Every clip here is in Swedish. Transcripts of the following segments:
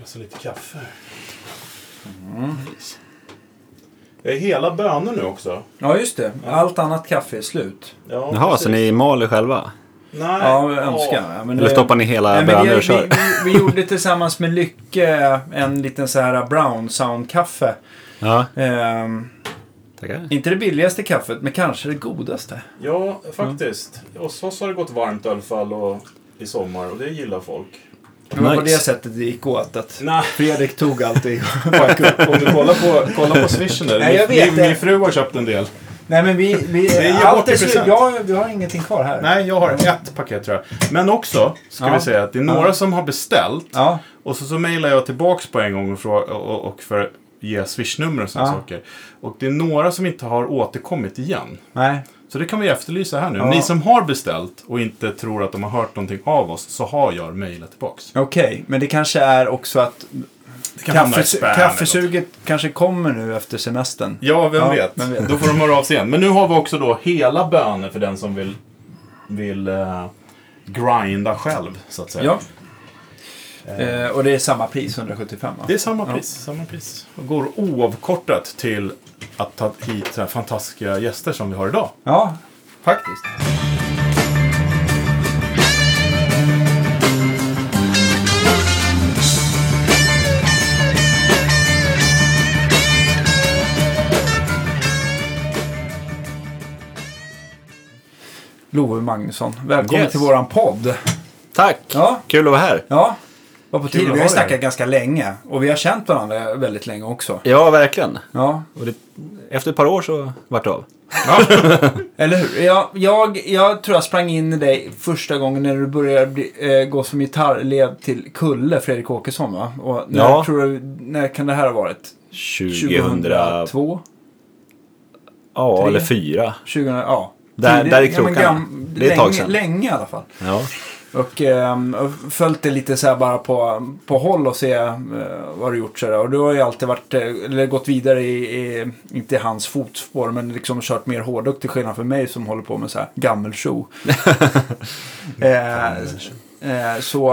Alltså lite kaffe. Mm. Jag är hela bönor nu också. Ja, just det. Allt annat kaffe är slut. Ja, Jaha, precis. så ni maler själva? Nej. Ja, jag önskar. Ja, men Eller det- stoppar ni hela Nej, men bönor vi, och vi, kör? vi, vi gjorde tillsammans med Lycke en liten så här brown sound-kaffe. Ja, Ehm, tackar. inte det billigaste kaffet, men kanske det godaste. Ja, faktiskt. Hos oss har det gått varmt i alla fall och, i sommar och det gillar folk. Det var på Nice. det sättet det gick åt. Att Nej, Fredrik tog alltid. om du kollar på, kollar på swishen där. Nej, jag Min- vet min, det. min fru har köpt en del. Nej, men vi... vi Det är ju allt är 80%. slut. Ja, vi har ingenting kvar här. Nej, jag har ett paket tror jag. Men också, ska Ja. vi säga, att det är några Ja. som har beställt. Ja, Och så, så mejlar jag tillbaks på en gång och, fråga, och, och för ge swishnummer och sådana Ja. saker. Och det är några som inte har återkommit igen. nej. Så det kan vi efterlysa här nu. Ja. Ni som har beställt och inte tror att de har hört någonting av oss, så har jag mejlat tillbaks. Okej, men det kanske är också att Det kan hamna i kaffes spam eller något. kaffesuget kanske kommer nu efter semestern. Ja, vem, Ja, vet. vem vet. Då får de höra av sig igen. Men nu har vi också då hela bönor för den som vill, vill eh, grinda själv, så att säga. Ja. Eh, och det är samma pris, 175 va? Det är samma pris. Samma pris. Och går oavkortat till att ta hit så här fantastiska gäster som vi har idag. Ja, faktiskt. Love Magnusson, välkommen Yes. till våran podd. Tack! Ja. Kul att vara här. Ja, var på att tiden. Vi ha har ju dig här. snackat ganska länge och vi har känt varandra väldigt länge också. Ja, verkligen. Ja, Och det, efter ett par år så vart det av. Eller hur? Jag, jag, jag tror jag sprang in i dig första gången när du började bli, eh, gå som gitarrelev till Kulle, Fredrik Åkesson va? Och när, Ja. tror du, när kan det här ha varit? 2002? Ja, Tre. eller fyra. 2000, ja. Där- Tidigt- där i krokarna. gam- Det är ett tag länge- sedan. Länge i alla fall. Ja. Och ehm, och följt det lite så här bara på, på håll och se eh, vad du gjort. Så där. Och du har ju alltid varit, eh, eller gått vidare i, i, inte i hans fotspår, men liksom kört mer hårdrock till skillnad för mig som håller på med så här gammelshow. eh, eh, så,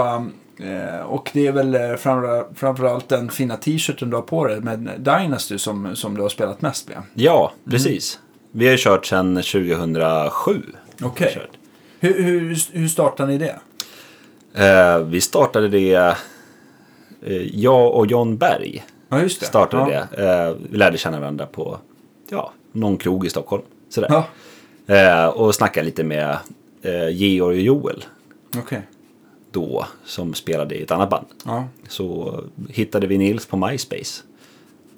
eh, och det är väl eh, framför- framförallt den fina t-shirten du har på dig med Dynasty som, som du har spelat mest med. Ja, precis. Vi har ju kört sedan 2007. Okej. Kört. Hur, hur, hur startade ni det? Eh, vi startade det, eh, jag och John Berg Ja, just det. startade ja. det. Eh, vi lärde känna varandra på ja, någon krog i Stockholm. Sådär. Ja, Eh, och snackade lite med eh, Georg och Joel okej. då, som spelade i ett annat band. Ja. Så hittade vi Nils på MySpace.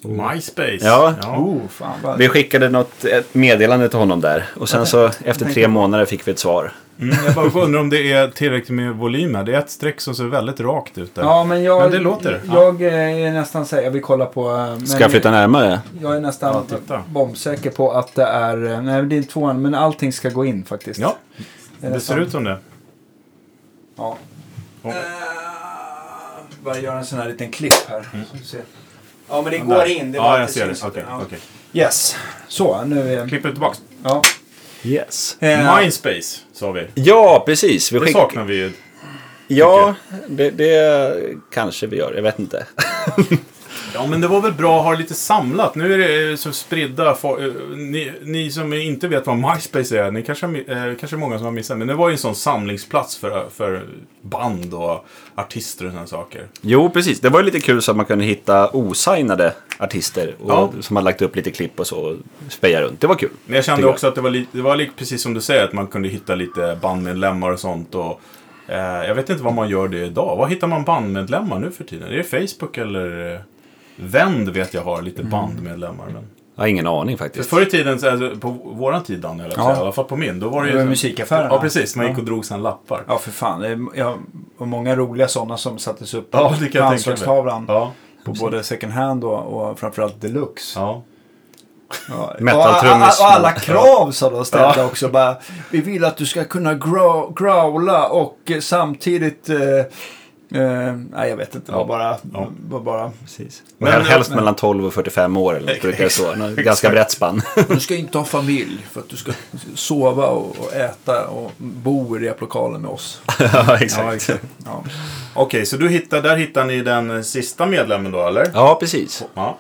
MySpace. Ja. Oh, fan vad... Vi skickade något, ett meddelande till honom där och sen så efter tre månader fick vi ett svar. Mm, jag bara undrar om det är tillräckligt med volym här. Det är ett streck som ser väldigt rakt ut där. Ja, men jag, Men det låter. jag eh, är nästan säker, jag vill kolla på... eh, Men Ska jag flytta närmare? Jag är nästan Ja, titta. bombsäker på att det är... eh, Nej, det är inte tvåan, men allting ska gå in faktiskt. Ja, är det ser sant. ut som det. Ja. Ja. Eh, bara göra en sån här liten klipp här. Så vi ser. Ja, men det Där. går in. Det Mm. ja, bara jag att ser det. syns Okej, inte. Ja. okej. Yes. Så, nu är... Klipper tillbaks. Ja. Yes. Eh, MySpace sa vi. Ja, precis. Vi Det skick- saknar vi ju. Ja, det, det kanske vi gör. Jag vet inte. Ja, men det var väl bra att ha lite samlat. Nu är det eh, så spridda. fo- eh, Ni, ni som inte vet vad MySpace är, ni kanske, har mi- eh, kanske är många som har missat. Men det var ju en sån samlingsplats för, för band och artister och sådana saker. Jo, precis. Det var ju lite kul så att man kunde hitta osignade artister och, Ja. som hade lagt upp lite klipp och så och speja runt. Det var kul. Men jag kände Tycker jag. också att det var, li- det var li- precis som du säger, att man kunde hitta lite bandmedlemmar och sånt. Och, eh, jag vet inte vad man gör det idag. Var hittar man bandmedlemmar nu för tiden? Är det Facebook eller? eh, Vänd vet jag har lite bandmedlemmar. Men... Jag har ingen aning För faktiskt. förr i tiden, så- alltså, på våran tid Daniel, Ja. ja. i alla fall på min, då var det ju... Det var så- musikaffärerna. Ja, precis. Man gick och drog sina lappar. Ja, för fan. Det är, ja, och många roliga sådana som sattes upp Ja, det kan jag tänka på mig. anslagstavlan. Ja. På både second hand och, och framförallt deluxe. ja. Ja. Metaltrummis. Och, och alla krav som de ställde också. Bara, vi vill att du ska kunna grow, growla och eh, samtidigt eh, Eh, nej, jag vet inte. Det var Ja. bara... Ja. Var bara. Precis. Och Men- här- Helst mellan 12 och 45 år eller något, brukar det stå. Nå- Ganska brett spann. Du ska inte ha familj för att du ska sova och, och äta och bo i replokalen med oss. ja, Ja, exakt. exakt. Ja. Okej, så du hittar, där hittar ni den eh, sista medlemmen då, eller? Ja, precis. Ja.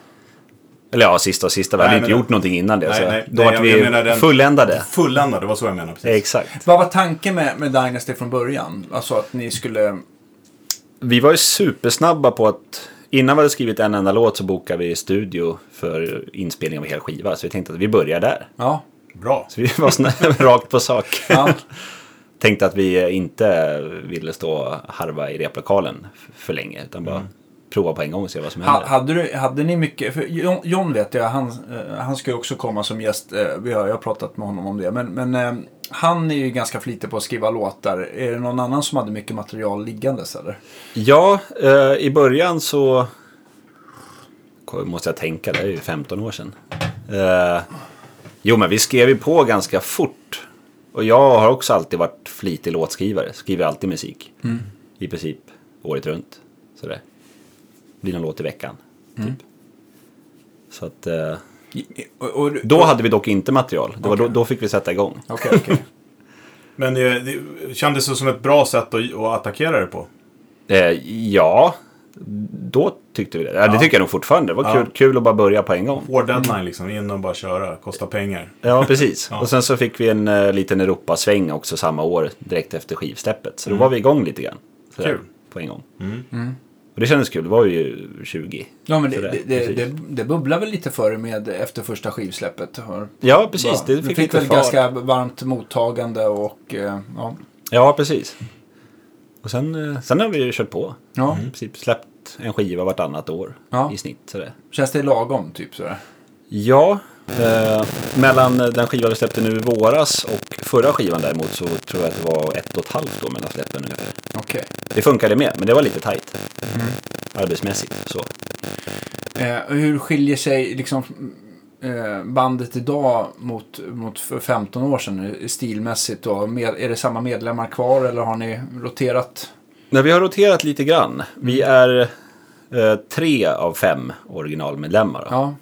Eller ja, sista och sista. Vi Nej, hade inte men- gjort någonting innan det. Nej, så nej, då nej, vart jag- jag vi menar den- fulländade. Fulländad, det var så jag menade. Precis. Exakt. Vad var tanken med, med Dynasty från början? Alltså att ni skulle... Vi var ju supersnabba på att innan vi hade skrivit en enda låt så bokade vi studio för inspelning av en hel skiva. Så vi tänkte att vi börjar där. Ja. Bra. Så vi var snabba, rakt på sak. ja. Tänkte att vi inte ville stå och harva i replokalen f- för länge. Utan bara prova på en gång och se vad som Ha, händer. hade, du, hade ni mycket... För John, John vet jag, han, eh, han ska ju också komma som gäst. eh, Vi har, jag har pratat med honom om det. Men, men eh, han är ju ganska flitig på att skriva låtar. Är det någon annan som hade mycket material liggandes eller? Ja, eh, i början så... Kolla, Måste jag tänka, det är ju 15 år sedan. Eh, jo, men vi skrev ju på ganska fort. Och jag har också alltid varit flitig låtskrivare. Skriver alltid musik. I princip året runt. Så det blir någon låt i veckan. Typ. Så att, eh, Och, och, och, då hade vi dock inte material. Det var då, då fick vi sätta igång. Okej, okej. Men det, det kändes det som ett bra sätt att, att attackera det på. Eh, ja, då tyckte vi det. Ja, det tycker jag nog fortfarande. Det var kul, kul att bara börja på en gång. Hård deadline liksom, in och bara köra, kosta pengar. Ja, precis. Och sen så fick vi en eh, liten Europasväng också samma år, direkt efter skivsteppet. Så då var vi igång lite grann. Sådär, Kul. På en gång. Och det kändes kul, då var vi ju 20. Ja, men det, Mm. Sådär, det, det, precis. det, det bubblar väl lite för er med efter första skivsläppet? Hör. Ja, precis. Bra. Det fick, lite väl fart. ganska varmt mottagande och eh, ja. Ja, precis. Och sen, eh, sen har vi ju kört på. ja. I princip släppt en skiva vartannat år Mm. Ja. i snitt. Sådär. Känns det lagom typ sådär? Ja, eh, mellan den skiva vi släppte nu i våras och förra skivan däremot så tror jag att det var ett och ett halvt år mellan släppen ungefär. Okej. Det funkade med, men det var lite tajt. Arbetsmässigt så. Eh, och hur skiljer sig liksom eh, bandet idag mot, mot för 15 år sedan eh, stilmässigt då? Med, är det samma medlemmar kvar eller har ni roterat? Nej, vi har roterat lite grann. Vi Mm. är eh, tre av fem originalmedlemmar. då. Ja,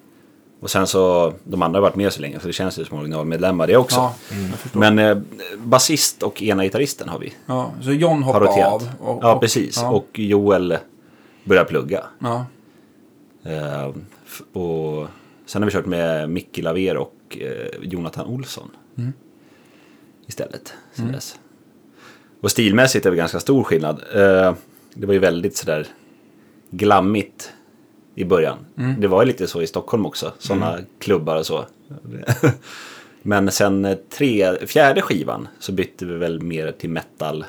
Och sen så, de andra har varit med så länge så det känns ju som originalmedlemmar det också. ja, jag förstår. Men eh, basist och ena gitarristen har vi. ja. Så John Har hoppade roterat. av? och- ja, och- precis. Ja, Och Joel börjar plugga. ja. Eh, f- och sen har vi kört med Micke Laver och eh, Jonathan Olsson. Mm. Istället, sen dess. Och stilmässigt är det ganska stor skillnad. Eh, det var ju väldigt sådär glammigt i början. Mm. Det var ju lite så i Stockholm också, sådana klubbar och så. Men sen eh, tre, fjärde skivan så bytte vi väl mer till metal.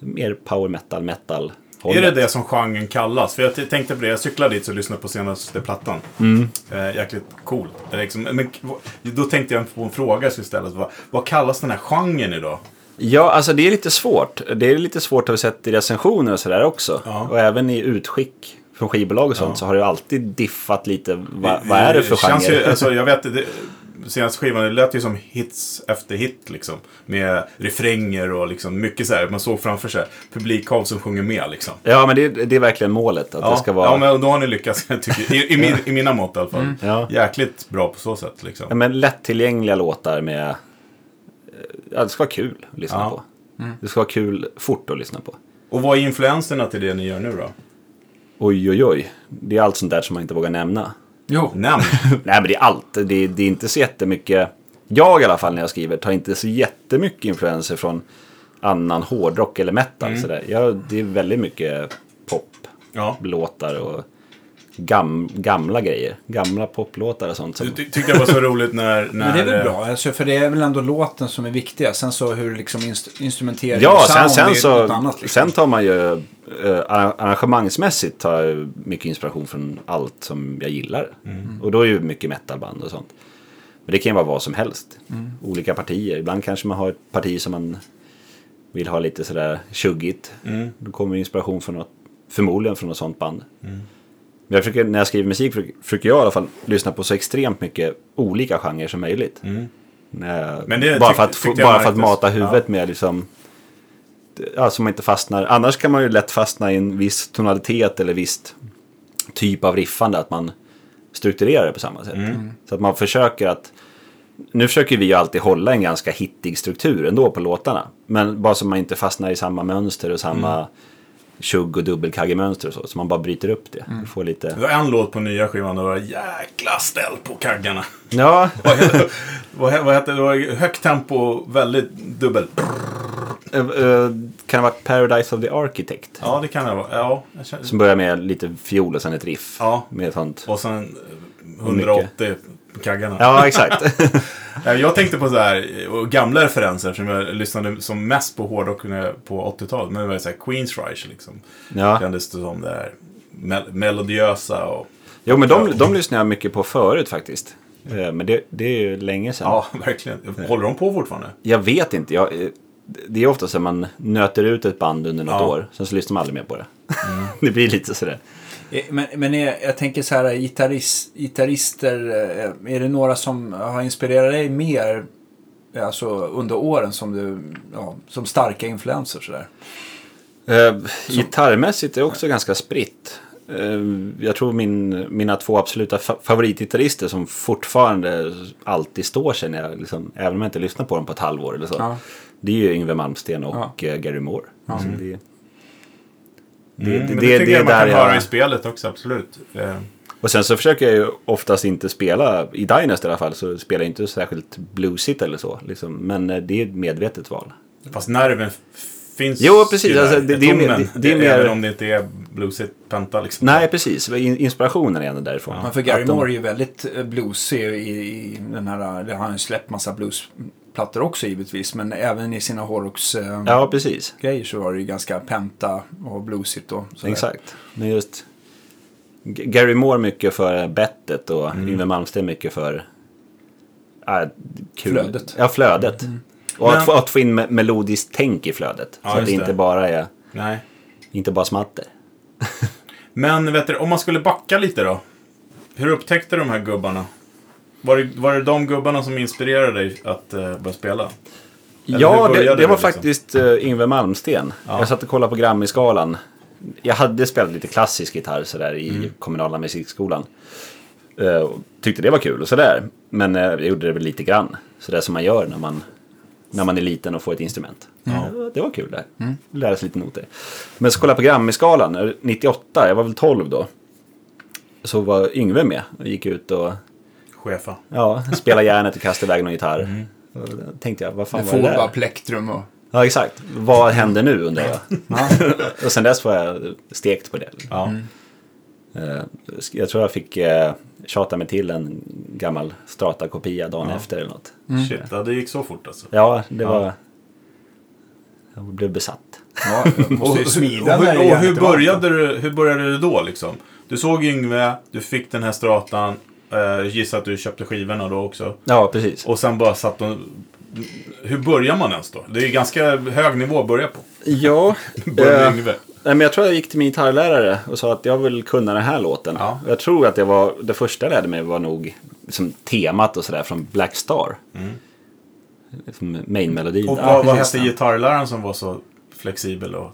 Mer power metal, metal. Är det det som genren kallas? För jag t- tänkte på det, jag cyklade dit och lyssnade på senaste plattan. Mm. Eh, jäkligt cool. Det är liksom, men, k- vad- då tänkte jag på en fråga jag skulle ställa. Vad, vad kallas den här genren idag? Ja, alltså det är lite svårt. Det är lite svårt har vi sett i recensioner och sådär också. Ja. Och även i utskick från skivbolag och sånt så har det alltid diffat lite. Va, vad är det för känns genre? Ju, alltså, jag vet, det, senaste skivan det lät ju som hits efter hit liksom. Med refränger och liksom mycket så här. Man såg framför sig publikhav som sjunger med liksom. Ja, men det, det är verkligen målet. Att det ska vara... ja, men då har ni lyckats, jag tycker I, i, min, I mina mått i alla fall. Ja. Jäkligt bra på så sätt liksom. Ja, men lättillgängliga låtar med... eh, Ja, det ska vara kul att lyssna Ja. Mm. på. Det ska vara kul fort att lyssna på. Och vad är influenserna till det ni gör nu då? Oj, oj, oj. Det är allt sånt där som man inte vågar nämna. Jo. Nämn! Nej, men det är allt. Det är, det är inte så jättemycket. Jag i alla fall när jag skriver tar inte så jättemycket influenser från annan hårdrock eller metal. Sådär. Jag, det är väldigt mycket Ja. poplåtar och gam, gamla grejer. Gamla poplåtar och sånt. Som, Du ty- tyckte jag var så roligt när... när Men det är väl eh, bra, alltså, för det är väl ändå låten som är viktiga. Sen så hur liksom inst- instrumenteringen ja, och sen, sound sen, är så, något annat. Liksom. sen tar man ju... eh, arra- arrangemangsmässigt tar jag ju mycket inspiration från allt som jag gillar. Mm. Och då är ju mycket metalband och sånt. Men det kan ju vara vad som helst. Mm. Olika partier. Ibland kanske man har ett parti som man vill ha lite sådär tjuggigt. Mm. Då kommer inspiration från något, förmodligen från något sånt band. Mm. Men jag försöker, när jag skriver musik försöker- försöker jag i alla fall lyssna på så extremt mycket olika genrer som möjligt. När jag- Mm. Men det bara tyck- för att, få- tyckte jag bara för att märktes. mata huvudet med liksom ja, så man inte fastnar. Annars kan man ju lätt fastna i en viss tonalitet eller visst typ av riffande. Att man strukturerar det på samma sätt. Mm. Så att man försöker att... Nu försöker vi ju alltid hålla en ganska hittig struktur ändå på låtarna. Men bara så man inte fastnar i samma mönster och samma Mm. tjugg och dubbelkaggemönster och så. Så man bara bryter upp det. Mm. Får lite... Det var en låt på nya skivan där det var jäkla ställ på kaggarna. Ja, vad, hette, vad, he- vad hette det? Det var högt tempo och väldigt dubbel. eh, eh, kan det vara Paradise of the Architect? Ja, det kan det vara. Ja, jag känner... Som börjar med lite fiol och sen ett riff. Ja. Med sånt. Och sen eh, 180 på kaggarna. Ja, exakt. Eh, Jag tänkte på så här, eh, och gamla referenser eftersom jag lyssnade som mest på hårdrock när jag- på 80-talet. Men det var så här Queensryche liksom. ja. Kändes det som det här mel- melodiösa och... Jo, men de, de lyssnar jag mycket på förut faktiskt. Eh, Men det, det är ju länge sedan. Ja, verkligen. Håller de på fortfarande? Jag vet inte. Jag, eh, det är ofta så att man nöter ut ett band under något Ja. Mm. år. Sen så lyssnar man aldrig mer på det. det blir lite sådär. Eh, Men, men jag, jag tänker så här, gitarrist, gitarrister, eh, är det några som har inspirerat dig mer eh, alltså, under åren som, du, ja, som starka influenser? Så där? Eh, gitarrmässigt är det också ganska spritt. Eh, jag tror min, mina två absoluta fa- favoritgitarrister som fortfarande alltid står sig, när jag liksom, även om jag inte lyssnar på dem på ett halvår eller så. Ja. Det är ju Yngwie Malmsteen och eh, Gary Moore. Alltså, det, det, Mm, det, men det, tycker det är jag man där kan höra i jag... spelet också, absolut. Eh, Och sen så försöker jag ju oftast inte spela, i Dynast i alla fall, så spelar jag inte särskilt bluesigt eller så. Liksom. Men eh, det är ett medvetet val. Fast nerven f- finns Jo, precis. ju där. Alltså, det- det är mer- Tonen, det- det är mer- Även om det inte är bluesigt penta liksom. Nej, precis. In- Inspirationen är ändå därifrån. Men för Gary Att de- Moore är ju väldigt eh, bluesig i, i den här, han har ju släppt massa bluesplattor också givetvis, men även i sina hårdrocks... Eh, Ja, precis. grejer så var det ju ganska penta och bluesigt då. sådär. Exakt. Men just G- Gary Moore mycket för bettet och Yngwie Malmsteen mycket för äh, kul. Flödet. Ja, flödet. Och Men- att, få, att få in me- melodiskt tänk i flödet. Ja, så att just det inte det. bara är Nej. inte bara smatter. Men vet du, om man skulle backa lite då. Hur upptäckte du de här gubbarna? Var det, var det de gubbarna som inspirerade dig att eh, börja spela? Eller hur ja, började det, det var det liksom? faktiskt uh, Yngwie Malmsteen. Jag satt och kollade på Grammy-skalan. Jag hade spelat lite klassisk gitarr sådär i Mm. kommunala musikskolan. Eh, och tyckte det var kul och sådär. Men eh, jag gjorde det väl lite grann. Sådär som man gör när man, när man är liten och får ett instrument. Ja, det var kul där. Mm. Lära sig lite noter. Men så kollade jag på Grammy-skalan. eh, 98, jag var väl 12 då. Så var Yngwie med och gick ut och Chefa. ja, spelade järnet och kastade iväg någon gitarr. Mm. Och då tänkte jag, vad fan Med var det där? Fova, plektrum och... Ja, exakt. Vad händer nu undrar jag. Ja. Och sen dess var jag stekt på det. Ja. Mm. Mm. Eh, Jag tror jag fick eh, tjata mig till en gammal Strata-kopia dagen efter eller något. Mm. Mm. Mm. Shit, ja, det gick så fort alltså. Ja, det var... Jag blev besatt. Ja, jag måste ju smida och när hur, och hur, järnet är varmt. började du, hur började du då liksom? Du såg Yngve, du fick den här stratan. Eh, gissar att du köpte skivorna då också. Ja, precis. Och sen bara satt de... Hur börjar man ens då? Det är ju ganska hög nivå att börja på. Ja, Eh, Börja med Yngve. Nej, men jag tror jag gick till min gitarrlärare och sa att jag vill kunna den här låten. Ja. Och Jag tror att det, var, det första jag lärde mig var nog liksom, temat och sådär från Black Star. Liksom Main-melodin. Mm. Och Ja, vad, vad precis. hette gitarrläraren som var så flexibel och...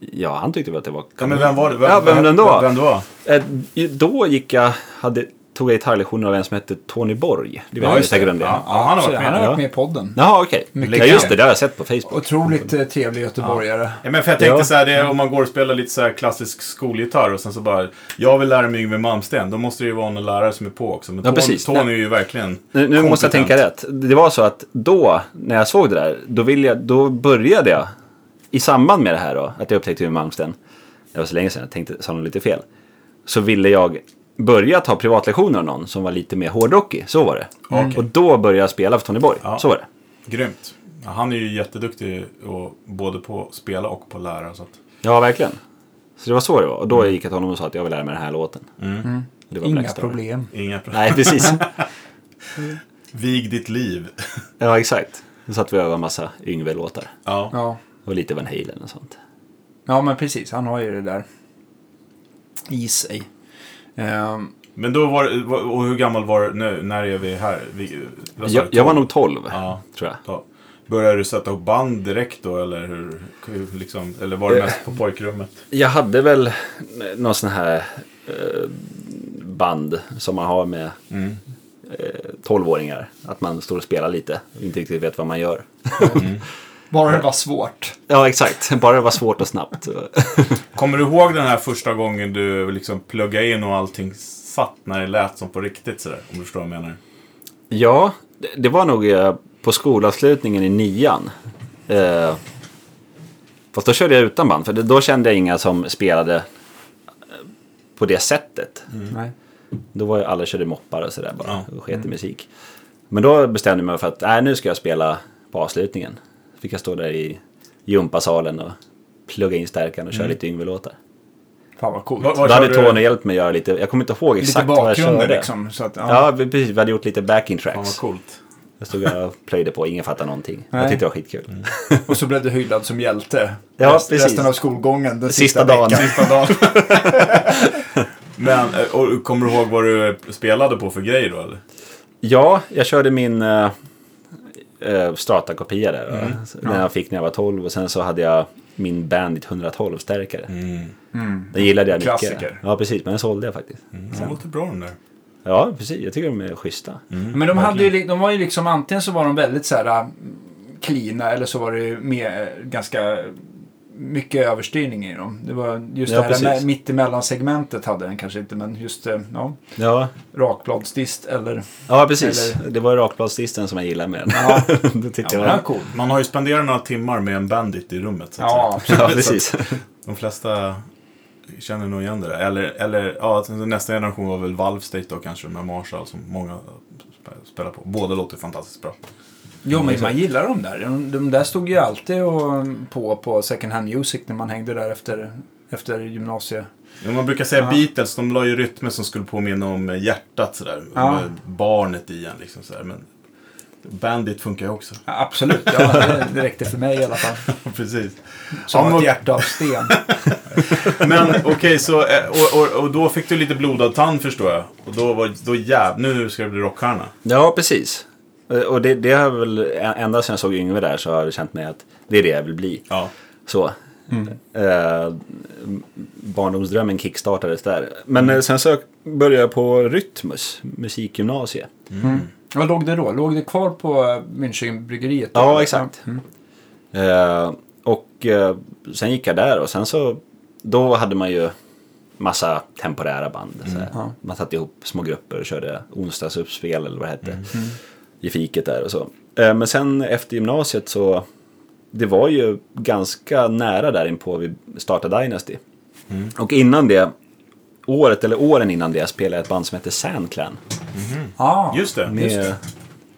Ja, han tyckte väl att det var... Ja, men vem var det? ja, vem den då? Vem då? Eh, Då gick jag, hade, tog jag gitarrlektioner av en som hette Tony Borg. Du vet just det. säkert vem det är? Ja, ja, han har Så varit han med. har ja. varit med i podden. Jaha, okej. Mycket Ja, just det, grann. det har jag sett på Facebook. Otroligt eh, trevlig göteborgare. Ja, men för jag tänkte Ja. så här, det är, om man går och spelar lite så här klassisk skolgitarr och sen så bara, jag vill lära mig Yngwie Malmsteen, då måste det ju vara någon lärare som är på också. Men Ja, Tony, precis. Tony är ju verkligen Nu, nu måste kompetent. jag tänka rätt. Det var så att då, när jag såg det där, då, ville jag, då började jag. I samband med det här då, att jag upptäckte Umeå Malmsten. Det var så länge sedan, jag tänkte, sa nog lite fel. Så ville jag börja ta privatlektioner av någon som var lite mer hårdrockig. Så var det. Och då började jag spela för Tony Borg. Ja. Så var det. Grymt. Ja, han är ju jätteduktig och, både på att spela och på att lära. Så att, Ja, verkligen. Så det var så det var. Och då gick jag till honom och sa att jag vill lära mig den här låten. Mm. Det var Inga Black Star. problem. inga problem. Nej, precis. Vig ditt liv. ja, exakt. Då satt vi och övade en massa Yngwie-låtar. ja. Ja. Och lite Van Halen och sånt. ja, men precis. Han har ju det där i sig. Ehm, Men då var var- och hur gammal var du nu? När är vi här? Vi, vad sa Jag, du? jag var nog 12, Ja. tror jag. Ja. Började du sätta ihop band direkt då eller hur? hur Liksom, eller var det mest på pojkrummet? Jag hade väl n- någon sån här eh, band som man har med Mm. eh, 12-åringar. Att man står och spelar lite och inte riktigt vet vad man gör. Bara det var svårt. Ja, exakt. Bara det var svårt och snabbt. Kommer du ihåg den här första gången du liksom pluggade in och allting satt när det lät som på riktigt sådär? Om du förstår vad jag menar. Ja, det- det var nog eh, på skolavslutningen i nian. Eh, Fast då körde jag utan band, för det- då kände jag inga som spelade eh, på det sättet. Nej. Då var ju alla körde moppar och sådär bara, Mm. Ja. Mm. och sket i musik. Men då bestämde jag mig för att, nej nu ska jag spela på avslutningen. Fick jag stå där i gympasalen och plugga in stärkan och köra lite Yngve-låtar. Fan vad coolt. Vad- Då Mm. vad hade körde Tony du? hjälpt mig göra lite, jag kommer inte ihåg Lite exakt vad jag körde. bakgrunder liksom. Så att, ja. Ja, vi- precis. Vi hade gjort lite backing tracks. Fan vad coolt. Jag stod och plöjde på, ingen fattade någonting. Nej. Jag tyckte det var skitkul. Och så blev du hyllad som hjälte. Ja, Rest- precis. Resten av skolgången. Den sista, Sista dagen. Veckan, sista dagen. Men eh, och, kommer du ihåg vad du spelade på för grejer då eller? Ja, jag körde min uh, Strata-kopia där. va? Mm. Den jag fick när jag var 12 och sen så hade jag min Bandit 112-stärkare. Mm, Den gillade jag mycket. Mm. Klassiker. Mm. Ja, precis. Men den sålde jag faktiskt. Den låter bra den där. Ja, precis. Jag tycker de är schyssta. Mm. Mm. Men de, hade ju, li- de var ju liksom antingen så var de väldigt så här äh, cleana eller så var det ju mer, äh, ganska mycket överstyrning i dem. Det var just Ja, det här med, precis. mittemellan segmentet hade den kanske inte men just äh, ja, Ja, rakbladsdist eller... ja precis. Eller- Det var rakbladsdisten som jag gillade med den. Ja, det tyckte den jag var... var cool. Man har ju spenderat några timmar med en bandit i rummet. Så att säga. Ja, absolut. Ja, precis. De flesta känner nog igen det där. Eller, eller ja, alltså, nästa generation var väl Valve State då kanske med Marshall som många sp- spelar på. Båda låter fantastiskt bra. Jo, men man gillar de där. De, de där stod ju alltid och, på på second hand music när man hängde där efter, efter gymnasiet. Men man brukar säga Ja. Beatles, de la ju rytmer som skulle påminna om hjärtat sådär. Ja. Med barnet i en liksom sådär. Men Bandit funkar ju också. Ja, absolut, ja, det, det räckte för mig i alla fall. Precis. Som Ja, men- ett hjärta av sten. Men okej, så eh, och, och, och då fick du lite blodad tand förstår jag. Och då var då jäv, nu ska du bli rockstjärna. Ja, precis. Eh, Och det, det har väl, ända sedan jag såg Yngve där så har jag känt mig att det är det jag vill bli. Ja. Så. Eh, barndomsdrömmen kickstartades där. Men eh, sen så började jag på Rytmus musikgymnasiet. Mm. Vad låg det då? Låg det kvar på eh, Münchenbryggeriet? då? Mm. Ja, exakt. Eh, och eh, sen gick jag där och sen så då hade man ju massa temporära band. Så Mm. här. Ja. Man satte ihop små grupper och körde onsdagsuppspel eller vad det Mm. hette. I fiket där och så. Eh, men sen efter gymnasiet så det var ju ganska nära där inpå vi startade Dynasty. Mm. Och innan det, året eller åren innan det, spelade jag ett band som hette Sandclan. Ah, Just det. Med,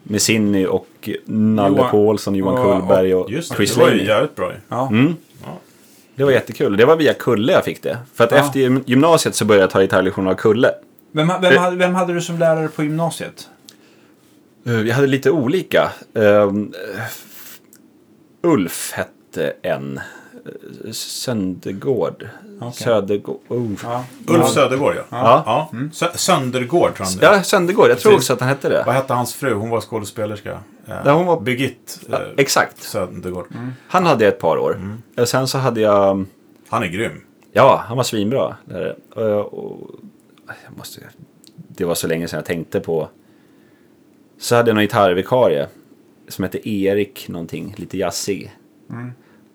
med Sinny och Nalle Johan- Paulsson, Johan och- Kullberg och Just det, Chris det var ju Laney. jävligt bra ju. Ja. Mm. Det var jättekul. Det var via Kulle jag fick det. För att Ja. efter gym- gymnasiet så började jag ta gitarrlektioner av Kulle. Vem, ha- vem, hade, vem hade du som lärare på gymnasiet? Eh, Jag hade lite olika. Ehm, eh, Ulf hette en. Eh, Söndergård. Södergård. Oh. Ja. Ulf Södergård ja. Ja. Mm. Ja. Sö- Söndergård tror han det är. ja, Söndergård. Jag tror också att han hette det. Vad hette hans fru? Hon var skådespelerska. Eh, Ja, Mm. hon var- Birgitte eh, Exakt. Södergård. Han hade jag ett par år. Mm. Och sen så hade jag... Han är grym. Ja, han var svinbra. Där. Och, och, jag måste, det var så länge sedan jag tänkte på... Så hade jag någon gitarrvikarie som hette Erik någonting, lite jazzig. Mm.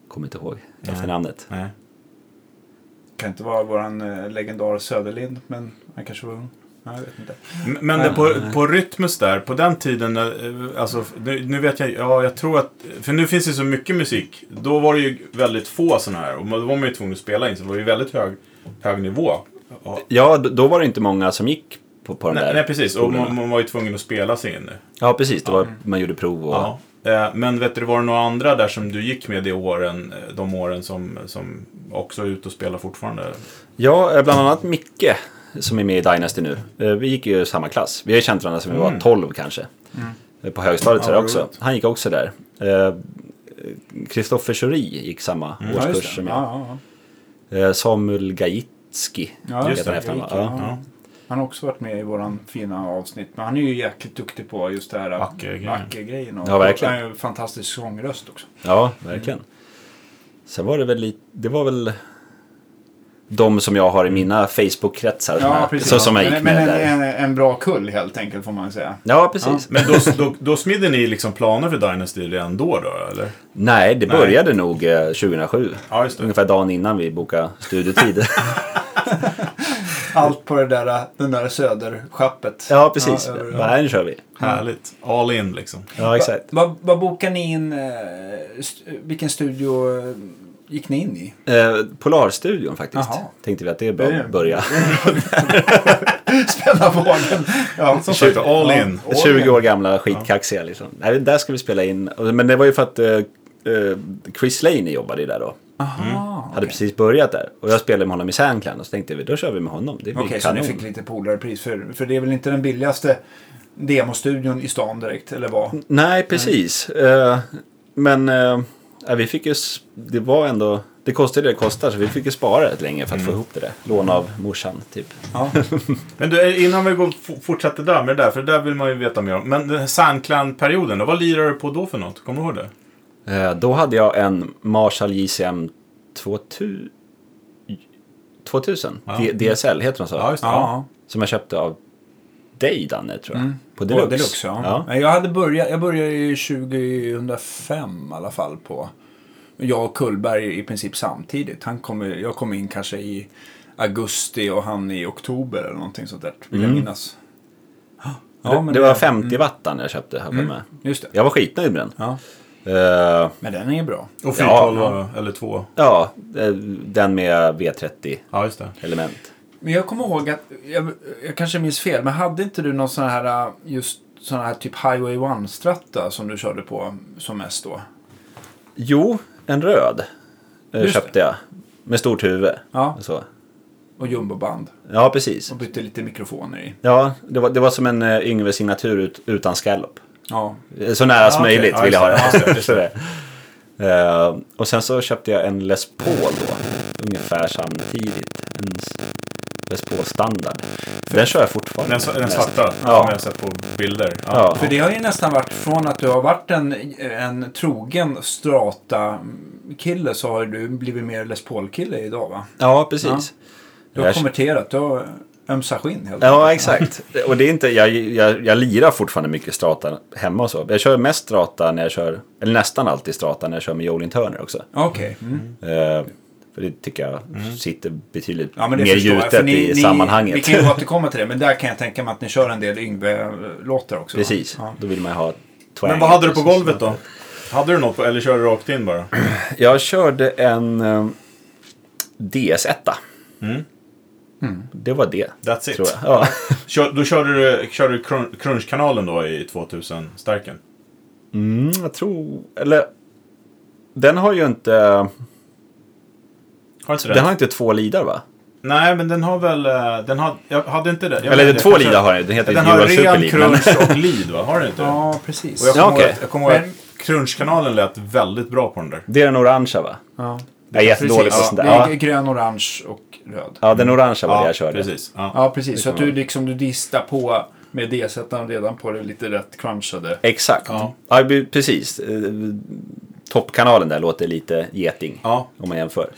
Kommer inte ihåg efternamnet. Nej. Kan inte vara våran eh, legendar Söderlind, men han kanske var ung. Nej, jag vet inte. M- Men det på, på Rytmus där, på den tiden, eh, alltså, nu, nu vet jag, ja jag tror att, för nu finns det så mycket musik. Då var det ju väldigt få sådana här och man- då var man ju tvungen att spela in så det var ju väldigt hög, hög nivå. Ja. Ja, d- då var det inte många som gick på, på den Nej, där. nej precis, och skolorna. man, man var ju tvungen att spela sig in nu. Ja, precis. Det var, Man gjorde prov och... Ja. Eh, Men vet du, var det några andra där som du gick med de åren, eh, de åren som, som också är ute och spelar fortfarande? Ja, eh, bland annat Micke som är med i Dynasty nu. Eh, Vi gick ju samma klass. Vi har ju känt varandra sedan vi Mm. var 12 kanske. Mm. Eh, På högstadiet Ja, så där också. roligt. Han gick också där. Eh, Kristoffer Schori gick samma Mm. Ja, årskurs just det. som Ja, jag. ja, ja. Eh, Samuel Gajitski Ja, just heter han det. efternamn. Gajitski, Ja. Ja. Han har också varit med i våran fina avsnitt. Men han är ju jäkligt duktig på just det här Acke-grejen. Acke-grejen. och- Ja, verkligen. Han är ju en fantastisk sångröst också. Ja, verkligen. Sen var det väl lite, det var väl de som jag har i mina Facebook-kretsar som, jag- så, som jag gick men, med men där. en, en, en bra kull helt enkelt får man säga. Ja, precis. Men då, då, då smidde ni liksom planer för Dynasty redan då, då eller? Nej, det Nej. började nog eh, 2007. Ja, just det. Ungefär dagen innan vi bokade studiotid. Allt på det där, den där söderschappet. ja, precis. Ja, över- Bara, Nej, nu kör vi. Härligt. All in liksom. Ja, exakt. Vad vad- vad bokar ni in? eh, st- vilken studio eh, gick ni in i? Eh, Polarstudion faktiskt. Jaha. Tänkte vi att det är bra Det är- att börja. Spänna vågen. Ja, Som sagt, all in. Ja, all 20 in. år gamla skitkaxiga liksom. Nej, där ska vi spela in. Men det var ju för att eh, eh, Chris Laney jobbade ju där då. Aha. Mm. Hade precis börjat där. Och jag spelade med honom i Sandclan och så tänkte vi då kör vi med honom. Det blir Okej, så kanon. ni fick lite polarpris. För, för det är väl inte den billigaste demostudion i stan direkt, eller vad? Nej, precis. Eh, men eh, ja, vi fick ju... s- Det var ändå... Det kostade det det kostar så vi fick ju spara rätt länge för Mm. att få ihop det där. Låna av morsan typ. Ja. Men du, eh, innan vi går, f- fortsätter där med det där, för det där vill man ju veta mer om. Men den här Sandclan-perioden, då, vad lirade du på då för något? Kommer du ihåg det? Eh, då hade jag en Marshall JCM 2000. 2000? Ja. D- DSL heter de så? Ja, just det. Ja. Ja. Som jag köpte av dig Danne tror jag. På Det Deluxe. var Deluxe ja. Men Jag, hade börjat, jag började ju 2005 i alla fall på... Jag och Kullberg i princip samtidigt. Han kom, jag kom in kanske i augusti och han i oktober eller någonting sånt där. Vill jag minnas. Ja, Mm. det, men mm. det var 50 watt den jag köpte. Här med. Just det. Jag var skitnöjd med den. Ja. Eh, Men den är ju bra. Och 412 eller 2. ja, eh, den med V30 Ja, just det. element. Men jag kommer ihåg att, jag, jag kanske minns fel, men hade inte du någon sån här just sån här typ Highway 1-stratta som du körde på som mest då? Jo, en röd eh, Just köpte jag. Med stort huvud. Ja. och Så. Och jumboband. ja, precis. Och bytte lite mikrofoner i. Ja, det var, det var som en eh, Yngve signatur ut, utan scallop. Ja, Eh, Så nära som okej. möjligt Ja, vill jag ha just det. Ja, det. just det, Så det. Eh, och sen så köpte jag en Les Paul då. Ungefär samtidigt. En s- Les Paul standard. Den kör jag fortfarande. Den, s- den svarta, Ja. som jag har sett på bilder. Ja. För det har ju nästan varit från att du har varit en, en trogen Strata-kille så har du blivit mer Les Paul-kille idag va? Ja, precis. Du har Jag- konverterat, du har ömsa skinn helt Ja, exakt. Och det är inte, jag, jag, jag lirar fortfarande mycket strata hemma och så. Jag kör mest strata när jag kör, eller nästan alltid strata när jag kör med Jolin Turner också. Okej. Mm. Eh, för det tycker jag sitter betydligt Ja, men det mer förstår jag, gjutet för ni- i ni- Vi sammanhanget. kan ju återkomma till det, men där kan jag tänka mig att ni kör en del Yngve-låtar också. va? Precis, Ja. då vill man ju ha twang. Men vad hade du på golvet då? Hade du något på, eller körde du rakt in bara? Jag körde en eh, DS1. Det var det, Mm. That's tror it. jag. Ja. Kör, då körde du, körde du crun- crunchkanalen då i 2000-stärken? Mm, jag tror, eller... Den har ju inte, Har inte den det? har inte två lidar va? Nej, men den har väl... eh, Den har, jag hade inte det. Jag Eller vet det inte, två jag kanske- lidar har den. Den heter Den Dual har Super ren Lead. Men, crunch och lead va? Har den inte? det? Ja, precis. Och jag kommer Ja, okej. ihåg att- jag kommer ihåg Men- att crunchkanalen lät väldigt bra på den där. det är den orangea va? Ja. Jag är jättedålig på Precis. sånt där. Ja, det är Ja, grön, orange och röd. ja den orangea var det jag körde. precis. Mm. Ja. Ja, precis. Så att kan du liksom du distar på med D-sättaren redan på det lite rätt crunchade. Exakt. Ja. Ja. be- precis. Eh, Toppkanalen där låter lite geting. Ja, Om man jämför.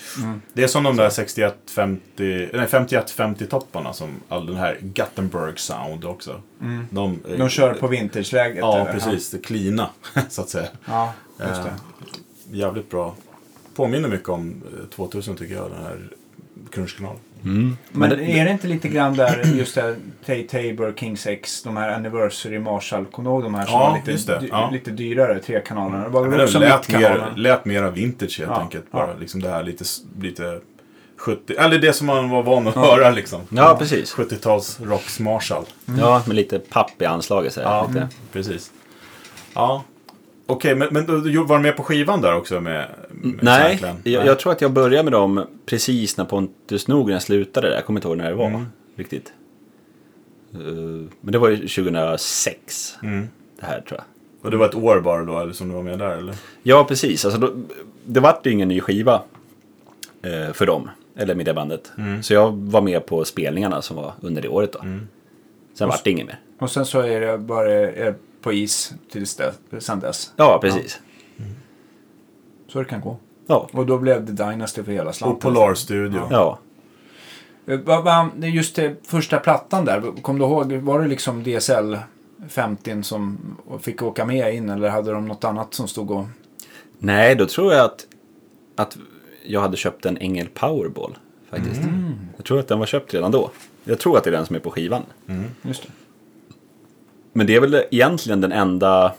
det är som de där 61-50, nej 51-50 topparna som all den här Gothenburg sound också. De, eh, Mm. De kör på vintageläget. Ja, eller? precis. Det klina, så att säga. Ja, just det. Eh, Jävligt bra. Påminner mycket om eh, 2000 tycker jag, den här crunchkanalen. Men är det inte lite grann där just det här Tay Tabor, Kings X, de här Anniversary, Marshall, kommer du ihåg de här som Ja, var lite, just det. dy- Ja. lite dyrare, tre kanalerna? Det var väl Det också lät, mer, mittkanaler? lät mera vintage helt Ja, enkelt. ja. Bara liksom det här lite, s- lite 70, eller det som man var van att höra liksom. Ja, precis. 70-tals Rocks Marshall. Mm. Ja, med lite papp i anslaget. Så här. Ja, Mm. Lite. precis. Ja. Okej, men, men du- du var du med på skivan där också med, med Mm, Nej, Franklin? jag, jag tror att jag började med dem precis när Pontus Norgren slutade där. Jag kommer inte ihåg när det var riktigt. Eh, Men det var ju 2006. Det här tror jag. Och det var ett år bara då, eller som du var med där eller? Ja, precis. Alltså, då, det vart ju ingen ny skiva eh, för dem. eller midjabandet. Så jag var med på spelningarna som var under det året då. Sen vart det inget mer. Och sen så är det bara är på is tills dess, sen dess. Ja, precis. Så det kan gå. Ja. Och då blev det Dynasty för hela Och slanten. Polar Studio. ja. Eh, va- va- det är Just det, första plattan där, kom du ihåg, var det liksom DSL 50 som fick åka med in eller hade de något annat som stod och... Nej, då tror jag att, att jag hade köpt en Engel Powerball faktiskt. Jag tror att den var köpt redan då. Jag tror att det är den som är på skivan. Just det. Men det är väl egentligen den enda...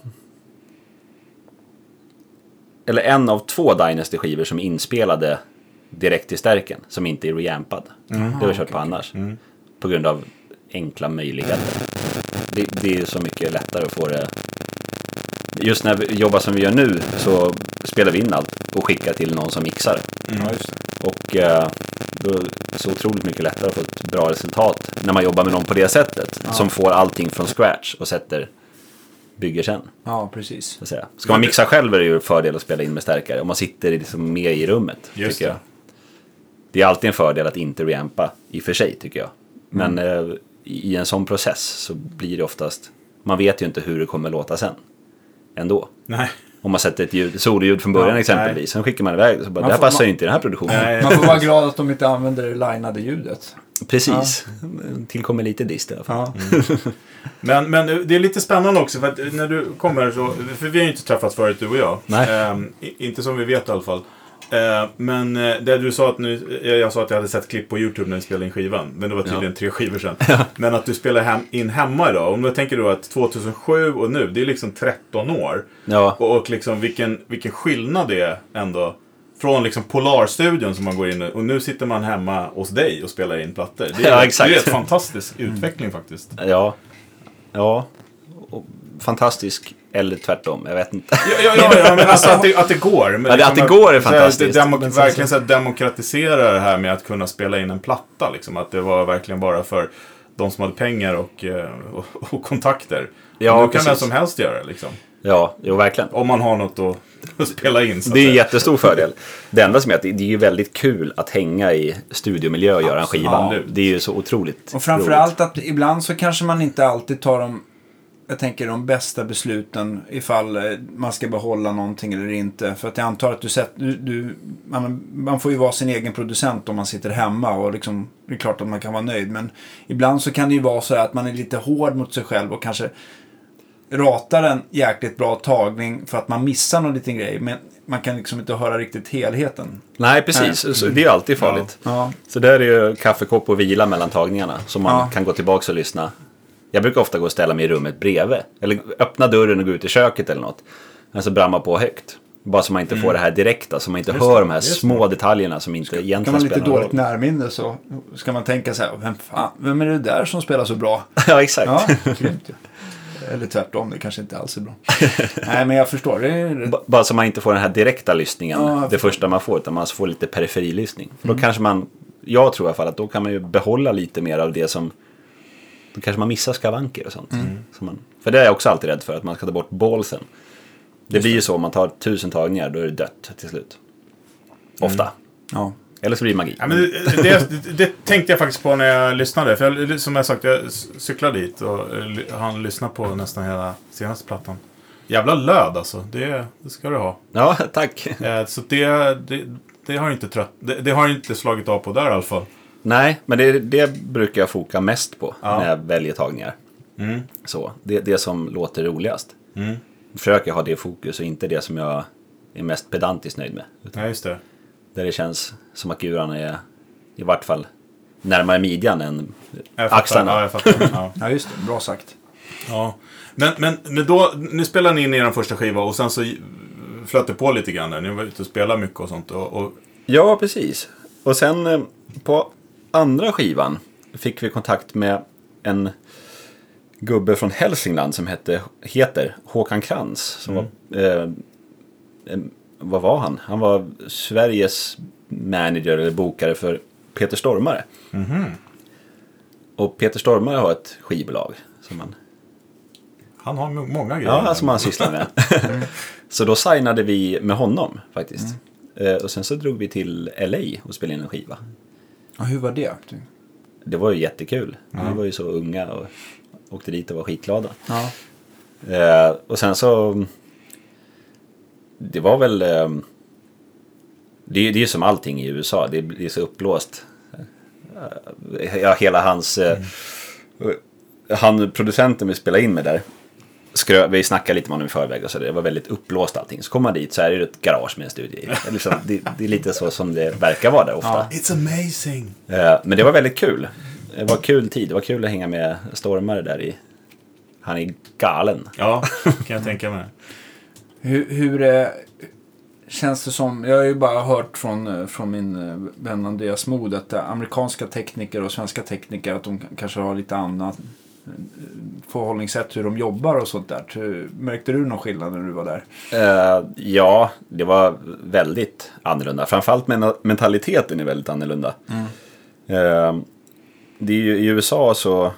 Eller en av två Dynasty-skivor som är inspelade direkt till stärken. Som inte är reampad. Det har jag kört på annars. På grund av enkla möjligheter. Det, det är ju så mycket lättare att få det... Just när vi jobbar som vi gör nu så spelar vi in allt och skickar till någon som mixar. Mm. Ja, just det. Och eh, då är det så otroligt mycket lättare att få ett bra resultat när man jobbar med någon på det sättet. Som får allting från scratch och sätter, bygger sen. Ja, precis. Så att säga. Ska man mixa själv är det ju en fördel att spela in med stärkare. Om man sitter liksom med i rummet. Just tycker jag. det. det är alltid en fördel att inte reampa i och för sig tycker jag. Men Mm. eh, i en sån process så blir det oftast, man vet ju inte hur det kommer låta sen. Ändå. Nej. Om man sätter ett ljud, sololjud från början Ja, exempelvis. Sen skickar man iväg så bara, Man det här får- passar man- ju inte i den här produktionen. Nej. Eh, Man får vara glad att de inte använder det linade ljudet. Precis. Tillkommer lite dist i alla fall. Men, men det är lite spännande också för att när du kommer så, för vi har ju inte träffats förut du och jag. Nej. Ehm, i- inte som vi vet i alla fall. Ehm, men eh, det du sa att nu, jag, jag sa att jag hade sett klipp på YouTube när ni spelade in skivan. Men det var tydligen tre skivor sedan. men att du spelar hem, in hemma idag. Om du tänker då att 2007 och nu, det är liksom 13 år. Ja. Och, och liksom vilken, vilken skillnad det är ändå. Från liksom Polarstudion som man går in i, och nu sitter man hemma hos dig och spelar in plattor. Det är, Ja, exakt. Mm. Det är en fantastisk utveckling faktiskt. Ja. Ja. Och fantastisk eller tvärtom, jag vet inte. Ja, ja, ja, ja, men alltså att det, att det går. Men Ja, det- att det går är så här, fantastiskt. det demok- Men sen så- verkligen så här, demokratisera det här med att kunna spela in en platta. Liksom. Att det var verkligen bara för de som hade pengar och, eh, och, och kontakter. Ja, och nu precis. kan vem som helst göra det. Liksom. Ja, jo verkligen. Om man har något att, att spela in. Så att Det är en säga. jättestor fördel. Det enda som är att det det är ju väldigt kul att hänga i studiomiljö och göra en skiva. Absolut. Det är ju så otroligt Och framförallt att ibland så kanske man inte alltid tar de, jag tänker de bästa besluten ifall eh, man ska behålla någonting eller inte. För att jag antar att du sett, du, du, man, man får ju vara sin egen producent om man sitter hemma och liksom, det är klart att man kan vara nöjd. Men ibland så kan det ju vara så här att man är lite hård mot sig själv och kanske ratar en jäkligt bra tagning för att man missar någon liten grej. Men man kan liksom inte höra riktigt helheten. Nej, precis. Så det är ju alltid farligt. Ja. Så där är ju kaffekopp och vila mellan tagningarna. Så man Ja. kan gå tillbaka och lyssna. Jag brukar ofta gå och ställa mig i rummet bredvid. Eller öppna dörren och gå ut i köket eller något. Men så brammar på högt. Bara så man inte Mm. får det här direkta. Så man inte hör de här små detaljerna som inte Kan egentligen man lite spelar någon dåligt roll. närminne så ska man tänka så här, vem fan, vem är det där som spelar så bra? Ja, exakt. Ja, grymt ju. Eller tvärtom, det kanske inte alls är bra. Nej, men jag förstår. Det är rätt... B- Bara så man inte får den här direkta lyssningen. Ja, jag det första man får. Utan man får lite periferilyssning. För Då kanske man, jag tror i alla fall att då kan man ju behålla lite mer av det som då kanske man missar skavanker och sånt. Som man, för det är jag också alltid rädd för, att man ska ta bort bålsen. Det blir ju så, om man tar tusen tagningar, då är det dött till slut. Ofta. Ja. Eller så blir det magi. Ja, men det, det, det tänkte jag faktiskt på när jag lyssnade. För jag, som jag sagt, jag c- cyklar dit och eh, ly- han lyssnar på nästan hela senaste plattan. Jävla löd alltså. Det, det ska du ha. Ja, tack. Eh, Så det, det, det har inte trött, det, det har inte slagit av på där i alla fall. Nej, men det, det brukar jag foka mest på Ja. Mm. när jag väljer tagningar. Så, det, det som låter roligast. Försöker ha det i fokus och inte det som jag är mest pedantiskt nöjd med. Nej, just det. Där det känns som att guran är i vart fall närmare midjan än Jag fattar. axlarna. Ja, jag fattar. Ja. ja, just det. Bra sagt. Ja. Men, men, men då, nu spelade ni in er första skiva och sen så flöt det på lite grann där. Ni var ute och spelade mycket och sånt. Och, och, Ja, precis. Och sen eh, på andra skivan fick vi kontakt med en gubbe från Hälsingland som hette, heter Håkan Krantz. Som var, eh, eh, vad var han? Han var Sveriges manager eller bokare för Peter Stormare. Och Peter Stormare har ett skivbolag som han han har mo- många grejer. Ja, som han sysslar med. så då signade vi med honom faktiskt. Eh, Och sen så drog vi till LA och spelade in en skiva. Ja, hur var det? Det var ju jättekul. Vi var ju så unga och åkte dit och var skitglada. Ja. Eh, och sen så... Det var väl... Eh, det, är ju- det är ju som allting i USA, det blir så uppblåst. Eh, Ja, hela hans... Eh, Han, producenten vi spelade in med där, skrö, vi snackade lite med honom i förväg och så där. det var väldigt uppblåst allting. Så kom man dit så är det ju ett garage med en studio i. Det är liksom, det, det är lite så som det verkar vara där ofta. It's amazing! Eh, Men det var väldigt kul. Det var kul tid, det var kul att hänga med stormare där i... Han är galen. Ja, kan jag tänka mig. Hur, hur eh, känns det som, jag har ju bara hört från, eh, från min eh, vän Andreas Mood att eh, amerikanska tekniker och svenska tekniker att de k- kanske har lite annat eh, förhållningssätt hur de jobbar och sånt där. Hur- Märkte du någon skillnad när du var där? Eh, ja, det var väldigt annorlunda. Framförallt men- mentaliteten är väldigt annorlunda. Eh, det är ju, I USA så,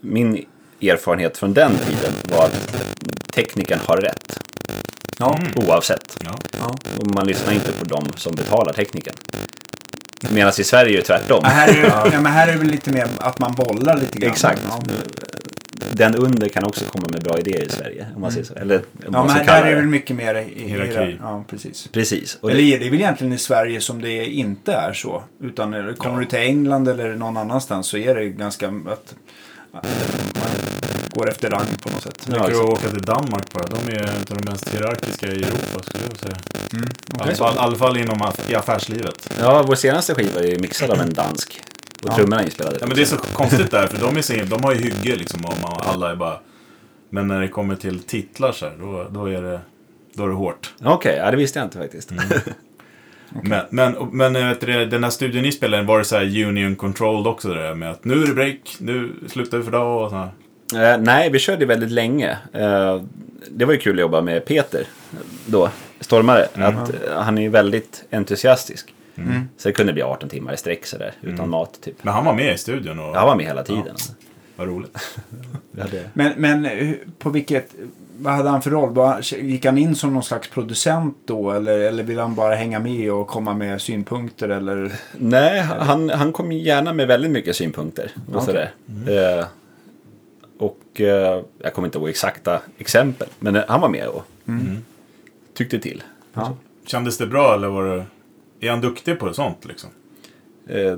min erfarenhet från den tiden var att tekniken har rätt. Ja. Oavsett. Mm. Ja. ja. Och man lyssnar inte på dem som betalar tekniken. Medan i Sverige är det tvärtom. Men här är, ju- ja, men här är det väl lite mer att man bollar lite grann. Exakt. Mm. Ja, Den under kan också komma med bra idéer i Sverige. Om man säger så. Eller om Mm. ja man men ska här, kalla där är det väl det. mycket mer i, i Hierarki. Ja, precis. Precis. Och Eller är det väl egentligen i Sverige som det inte är så? Utan är det- kommer du till England eller någon annanstans så är det ganska att, att man går efter rang på något sätt. Det Ja, räcker exakt. att åka till Danmark bara. De är en av de mest hierarkiska i Europa skulle jag säga. Mm. I alla Okej. fall, i alla fall inom aff- i affärslivet. Ja, vår senaste skiva är ju mixad av en dansk. Och Ja. trummorna är inspelade. Ja, men det är så konstigt där, för de, är så, de har ju hygge liksom. Och man, alla är bara... Men när det kommer till titlar så här, då, då, är det, då är det hårt. Okej, ja, det visste jag inte faktiskt. Mm. Men, men, och- men eh, vet du, det, den här studien ni spelade, var det så här Union Controlled också? Det där med att nu är det break, nu slutar vi för dag och så här. Eh, nej, vi körde väldigt länge. Eh, det var ju kul att jobba med Peter då, stormare. Mm. Att, eh, han är ju väldigt entusiastisk. Så det kunde bli 18 timmar i sträck sådär, utan Mm. mat typ. Men han var med i studion och Han var med hela tiden. vad roligt. Vi hade... Men, men hur- på vilket, vad hade han för roll? Bara- Gick han in som någon slags producent då? Eller, eller vill han bara hänga med och komma med synpunkter? Eller? Nej, han, han kom gärna med väldigt mycket synpunkter. Och, Okej. sådär. Mm. Eh, och eh, jag kommer inte ihåg exakta exempel, men eh, han var med och Mm. tyckte till. Ja. Kändes det bra eller var det... Är han duktig på sånt liksom? Eh,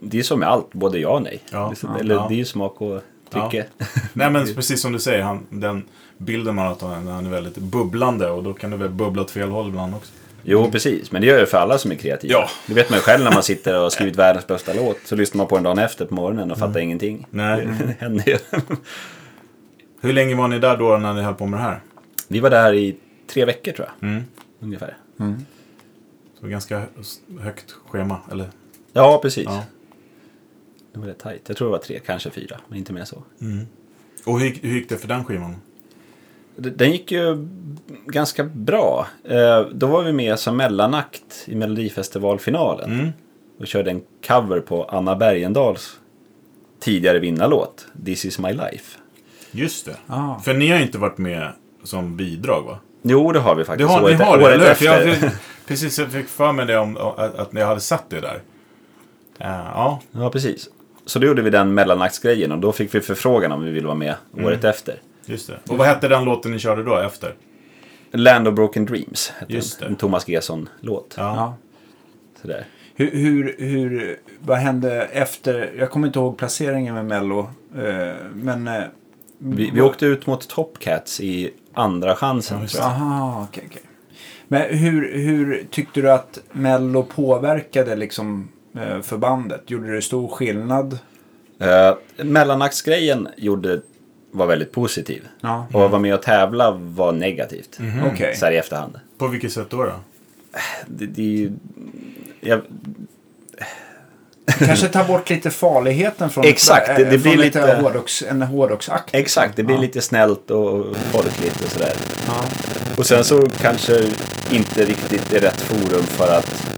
det är som med allt, både ja och nej. Ja, Det är så- ja, Eller ja. det är ju smak och tycke. Nej men precis som du säger, han, den bilden man har att han han är väldigt bubblande och då kan det väl bubbla åt fel håll ibland också. Jo, precis. Men det gör ju för alla som är kreativa. Ja. Det vet man ju själv när man sitter och har skrivit världens bästa låt. Så lyssnar man på den dagen efter på morgonen och fattar ingenting. Mm. Nej. Det händer ju. Hur länge var ni där då när ni höll på med det här? Vi var där i tre veckor tror jag. Mm. Ungefär. Så ganska högt schema, eller? Ja, precis. Ja. Det var rätt tajt. Jag tror det var tre, kanske fyra. Men inte mer så. Och hur, gick- hur gick det för den skivan? D- Den gick ju ganska bra. Eh, Då var vi med som mellanakt i Melodifestivalfinalen. Mm. och körde en cover på Anna Bergendahls tidigare vinnarlåt This is my life. Just det. Ah. För ni har ju inte varit med som bidrag va? Jo, det har vi Det faktiskt. har, ni året, e- har det, året eller hur? För efter. jag, fick- precis, jag fick för mig det om, att, att ni hade sett det där. Eh, ja, Ja, precis. Så då gjorde vi den mellanaktsgrejen och då fick vi förfrågan om vi ville vara med Mm. året efter. just det. Och vad hette den låten ni körde då efter? Land of Broken Dreams hette Just den. det. En Thomas Gesson-låt. Ja. Ja. Sådär. Hur, hur, hur, vad hände efter, jag kommer inte ihåg placeringen med Mello. Eh, men... eh, Vi, vi åkte ut mot Top Cats i andra chansen. Ja, just tror jag. Aha, okej. okej. Men hur, hur tyckte du att Mello påverkade liksom eh, förbandet? Gjorde det stor skillnad? Eh, mellanaktsgrejen gjorde, var väldigt positiv. Ja. Mm. Och att vara med och tävla var negativt. Mhm. Mm. Okej. Så här i efterhand. På vilket sätt då? då? Det, det är ju... Jag, Kanske ta bort lite farligheten från, Exakt, det- det eh, blir från lite- hårdrocks, en hårdrocksakt. Exakt, det blir Ja. lite snällt och folkligt och sådär. Ja. Och sen så kanske inte riktigt är rätt forum för att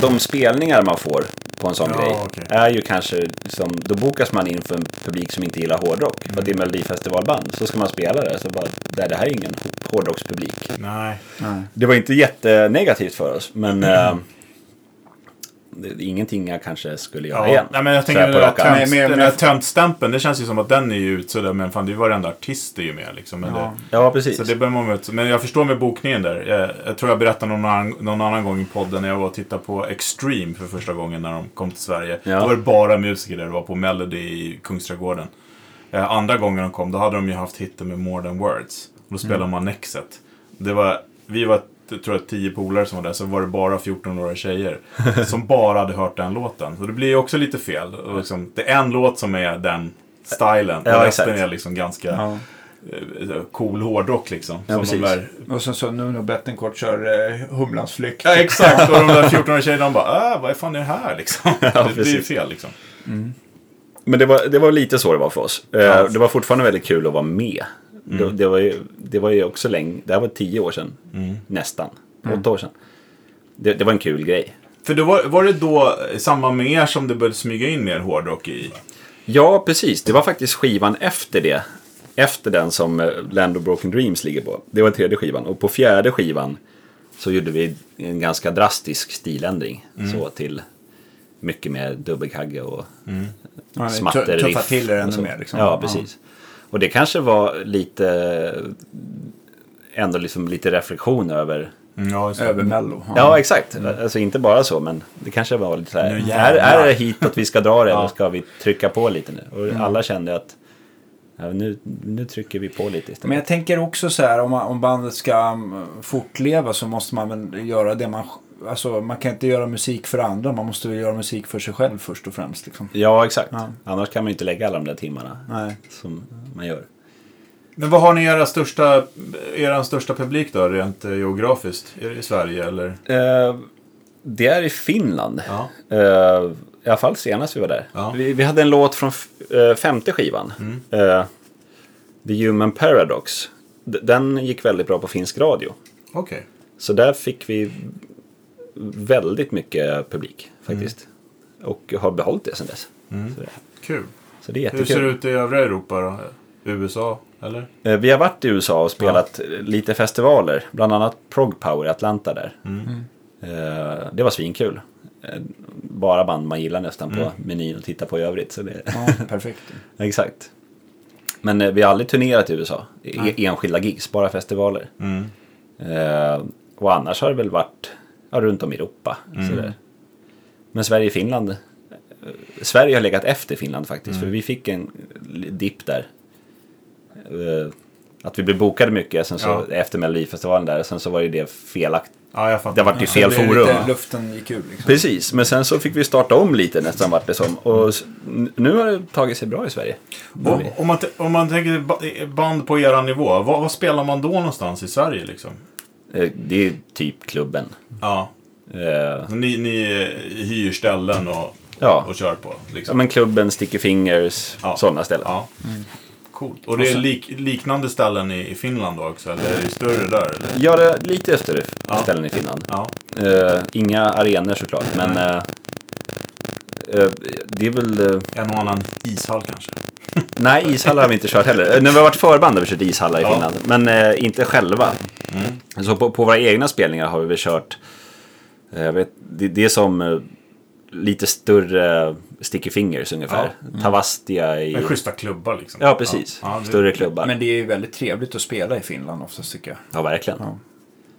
de spelningar man får på en sån Ja, grej okej. är ju kanske liksom, då bokas man in för en publik som inte gillar hårdrock. För att det är Melodifestivalband, så ska man spela det. Så bara, nej, det här är ingen hårdrockspublik. Nej. Nej. Mm. Det var inte jättenegativt för oss, men eh, det- Ingenting jag kanske skulle göra Ja, igen. nej, men jag Så tänker här den på där, rak arm. tönt, Men- men- den där men- töntstämpeln, det känns ju som att den är ju utsudda, men fan det är ju varenda artist är ju med liksom. Men det, Ja. Ja, precis. Så det behöver man väl inte- Men jag förstår med bokningen där. Jag, jag tror jag berättade någon annan, någon annan gång i podden när jag var och tittade på Extreme för första gången när de kom till Sverige. Ja. Då var det bara musiker där. Det var på Melody i Kungsträdgården. Eh, andra gången de kom, då hade de ju haft hitten med More Than Words. Och då Mm. spelade man Nexet. Det var, vi var, t- tror jag, tio polare som var där. Så var det bara 14-åriga tjejer som bara hade hört den låten. Så det blir ju också lite fel. Och liksom, det är en låt som är den stilen. Ja, Ja, resten exakt. är liksom ganska Ja. eh, cool hårdrock liksom. Ja, som precis. de där... Och sen så Nuno Bettencourt kör eh, Humlans flykt. Ja, exakt. Och de där 14 tjejerna de bara äh, vad fan är det här liksom? det blir ju precis. fel liksom. Men det var, det var lite så det var för oss. Eh, Det var fortfarande väldigt kul att vara med. Det, det, var ju, det var ju också länge, det här var tio år sedan. Nästan. Åtta år sedan. Det, det var en kul grej. För då var, var det då i samband med er som det började smyga in mer hårdrock i? Ja, precis. Det var faktiskt skivan efter det. Efter den som eh, Land of Broken Dreams ligger på. Det var den tredje skivan. Och på fjärde skivan så gjorde vi en ganska drastisk stiländring. Så till mycket mer dubbelkagge och Ja, det smatterriff. tuffa till det och så. ännu mer. Liksom. Ja, precis. Och det kanske var lite, ändå liksom lite reflektion över Mm, Ja, just Ja. Över Mello. Ja. Ja, exakt. Alltså inte bara så, men det kanske var lite så här. Nu Är, jävlar. är det hitåt vi ska dra det Ja. eller ska vi trycka på lite nu? Mm. Och alla kände att ja, nu, nu trycker vi på lite Men istället. jag tänker också så här om, man- om bandet ska um, fortleva så måste man väl göra det man... Alltså man kan inte göra musik för andra. Man måste väl göra musik för sig själv först och främst. Liksom. Ja, exakt. Ja. Annars kan man ju inte lägga alla de där timmarna Nej. som man gör. Men vad har ni era största, er största publik då, rent eh, geografiskt? Är det i Sverige eller? Eh, det är i Finland. Ja. Eh, I alla fall senast vi var där. Ja. Mm. Vi, vi hade en låt från f- eh, femte skivan. Eh, The Human Paradox. D- den gick väldigt bra på finsk radio. Okej. Så där fick vi väldigt mycket publik faktiskt. Mm. Och har behållit det sedan dess. Så, det, Kul. så det är Mm. Hur ser det jättekul. ut i övriga Europa då? USA, eller? Eh, Vi har varit i USA och spelat eh, lite festivaler. Bland annat Prog Power i Atlanta där. Eh, Det var svinkul. Eh, Bara band man gillar nästan på menyn och titta på i övrigt. Så det, Ja, perfekt. exakt. Men eh, vi har aldrig turnerat i USA. E- Enskilda gigs, bara festivaler. Eh, och annars har det väl varit ja, runt om i Europa. Sådär. Men Sverige och Finland. eh, Sverige har legat efter Finland faktiskt. För vi fick en l- dipp där. Eh, att vi blev bokade mycket sen så, efter Melodifestivalen där. Sen så var ju det felaktigt. Ja, jag fattar. Det vart ju fel Det är forum. Lite, luften gick ur liksom. Precis, men sen så fick vi starta om lite nästan vart det som. Och s- n- nu har det tagit sig bra i Sverige. Om, om, man, t- om man tänker ba- band på era nivå, vad, vad spelar man då någonstans i Sverige liksom? Eh, Det är typ klubben. Ja, Eh, Ni, ni eh, hyr ställen och, Ja. och kör på? Liksom. Ja, men klubben, Sticky Fingers, Ja. sådana ställen. Ja. Coolt. Och det är lik, liknande ställen i, i Finland då också? Eller är det större där? Eller? Ja, det är lite större f- ställen i Finland. Ja. Eh, inga arenor såklart, men eh, eh, det är väl... eh, En och annan ishall kanske? nej, ishallar har vi inte kört heller. Eh, När vi har varit förband har vi kört ishallar i Ja. Mm. Finland, men eh, inte själva. Så på, på våra egna spelningar har vi väl kört... eh, jag vet, det, det är som eh, lite större Sticky Fingers ungefär. Tavastia i... Mm. Men schyssta klubbar liksom? Ja, precis. Ja. Ja, det- Större klubbar. Men det är ju väldigt trevligt att spela i Finland oftast tycker jag. Ja, verkligen. Ja.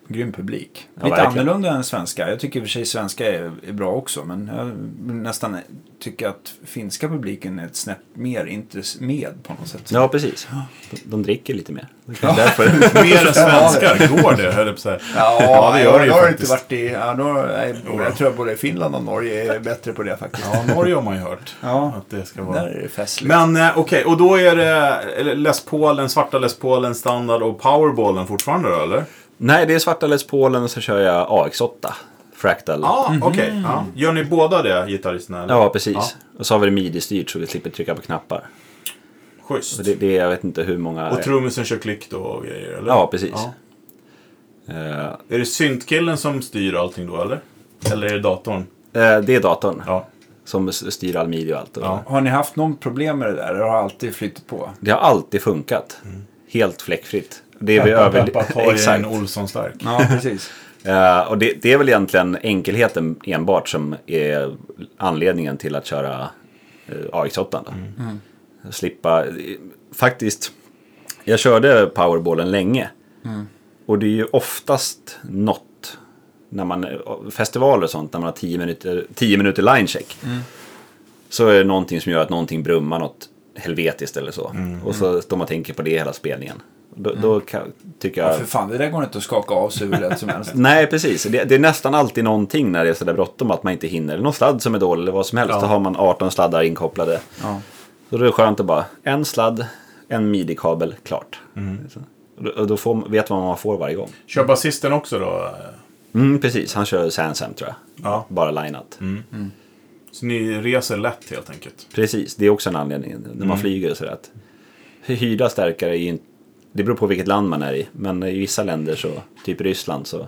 Grym publik. Ja, Lite verkligen. annorlunda än svenska. Jag tycker i och för sig svenska är, är bra också. Men jag nästan tycker att finska publiken är ett snäpp mer intress- med på något sätt. Ja, precis. De, de dricker lite mer. Därför. Mer än svenskar, går det? Höll jag på att säga. Ja, det gör det ju då har det faktiskt. inte varit i... Ja, då, nej, jag tror att både Finland och Norge är bättre på det faktiskt. Ja, Norge har man ju hört. Ja. Att det ska Där vara. är det festligt. liksom. Men eh, okej, och då är det eller, Les Paul, den svarta Les Paul, den standard och powerballen fortfarande då, eller? Nej, det är svarta Les Paulen och så kör jag AX8. Fractal. Ja, okej. Ja. Gör ni båda det, gitarristerna? eller? Mm. Ja, precis. Ja. Och så har vi det midi-styrt så vi slipper trycka på knappar. Schysst. Så det, det är, jag vet inte hur många... Och trummisen kör klick då och grejer, eller? Ja, precis. Eh, Är det syntkillen som styr allting då, eller? Eller är det datorn? eh, det är datorn Ja. som s- styr all midi och allt. Och Ja. Har ni haft någon problem med det där? Det har alltid flyttat på. Det har alltid Mm. funkat. Helt fläckfritt. Det är vi Peppa, över... peppa, ta i en Exakt. Olsson stark. Ja, precis. Eh, och det, det är väl egentligen enkelheten enbart som är anledningen till att köra eh, AX8. Då. Mm. Slippa, faktiskt, jag körde powerballen länge. Och det är ju oftast något, när man, festivaler och sånt, när man har 10 minuter, 10 minuter linecheck. Så är det någonting som gör att någonting brummar något helvetiskt eller så. Mm. Och så står man och tänker på det hela spelningen. Då, då kan, tycker jag... Ja, för fan, det där går inte att skaka av sig hur lätt som helst. Nej, precis. Det, det är nästan alltid någonting när det är sådär bråttom att man inte hinner. Eller Någon sladd som är dålig eller vad som helst. Ja. Då har man 18 sladdar inkopplade. Ja. Så det är skönt att bara, en sladd, en midi-kabel, klart. Så- Och då- och då får, man- vet man vad man får varje gång. Kör basisten också då? Mm, precis, han kör Sansam tror jag. Ja. Bara lineat. Så ni reser lätt helt enkelt? Precis, det är också en anledning när man flyger och sådär. Att hyrda stärkare är ju inte... Det beror på vilket land man är i. Men i vissa länder, så, typ Ryssland, så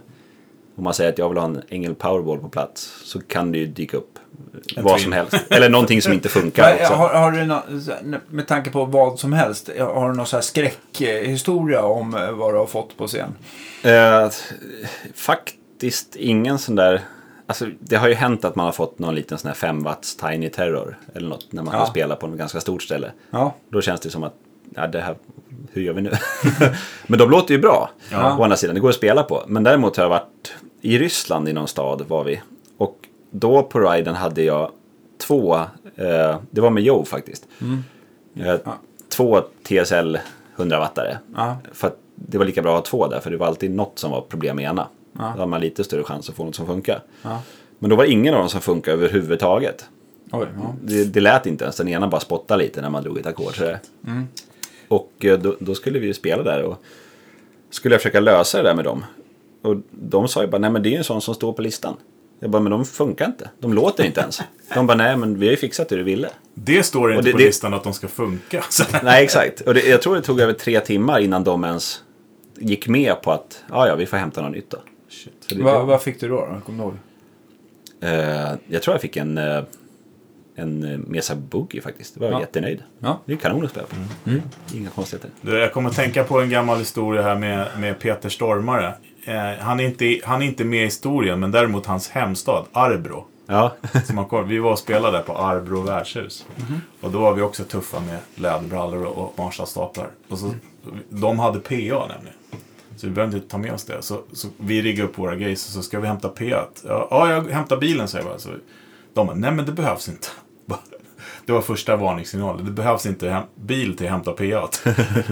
om man säger att jag vill ha en Engel Powerball på plats så kan det ju dyka upp vad twin. som helst. Eller någonting som inte funkar Men, också. har, har du någon, med tanke på vad som helst, eh, har du någon så här skräckhistoria om eh, vad du har fått på scen? Eh, faktiskt ingen sån där... Alltså, det har ju hänt att man har fått någon liten sån här 5 watts tiny terror eller något när man Ja. ska spela på något ganska stort ställe. Ja. Då känns det som att, ja det här, hur gör vi nu? men de låter ju bra, Ja. å andra sidan. Det går att spela på. Men däremot har jag varit i Ryssland i någon stad, var vi. Och då på riden hade jag två, eh, det var med Joe faktiskt. mm, Eh, Ja. Två TSL 100-wattare. Ja. För att det var lika bra att ha två där, för det var alltid något som var problem med ena. Ja. Då hade man lite större chans att få något som funkar. Ja. Men då var ingen av dem som funkade överhuvudtaget. Oj, ja. Det, det lät inte ens. Den ena bara spottade lite när man drog ett ackord. sådär. Och eh, då, då skulle vi ju spela där och skulle jag försöka lösa det där med dem. Och de sa ju bara, nej men det är ju en sån som står på listan. Jag bara, men de funkar inte. De låter inte ens. De bara, nej men vi har ju fixat det du ville. Det står inte Och det- på det- listan att de ska funka. Så- Nej, exakt. Och det, jag tror det tog över tre timmar innan de ens gick med på att, ja ja, vi får hämta någon nytt då. Så det- Vad, vad fick du då? då? Kommer du ihåg? Eh, jag tror jag fick en, eh, en eh, Mesa Boogie faktiskt. Det var jag Ja. jättenöjd. Ja. Det är kanon att spela på. Inga konstigheter. Du, Jag kommer att tänka på en gammal historia här med, med Peter Stormare. Eh, han, är inte, han är inte med i historien, men däremot hans hemstad, Arbro. Ja, Som han kom, vi var och spelade där på Arbro värdshus. Och då var vi också tuffa med läderbrallor och, och Marshallstaplar. Och så, de hade PA nämligen. Så vi behövde inte ta med oss det. Så, så vi riggade upp våra grejs och så ska vi hämta PA. Ja, ja, jag hämtar bilen säger jag bara. Så de bara, nej men det behövs inte. Det var första varningssignalen. Det behövs inte hem- bil till att hämta PA.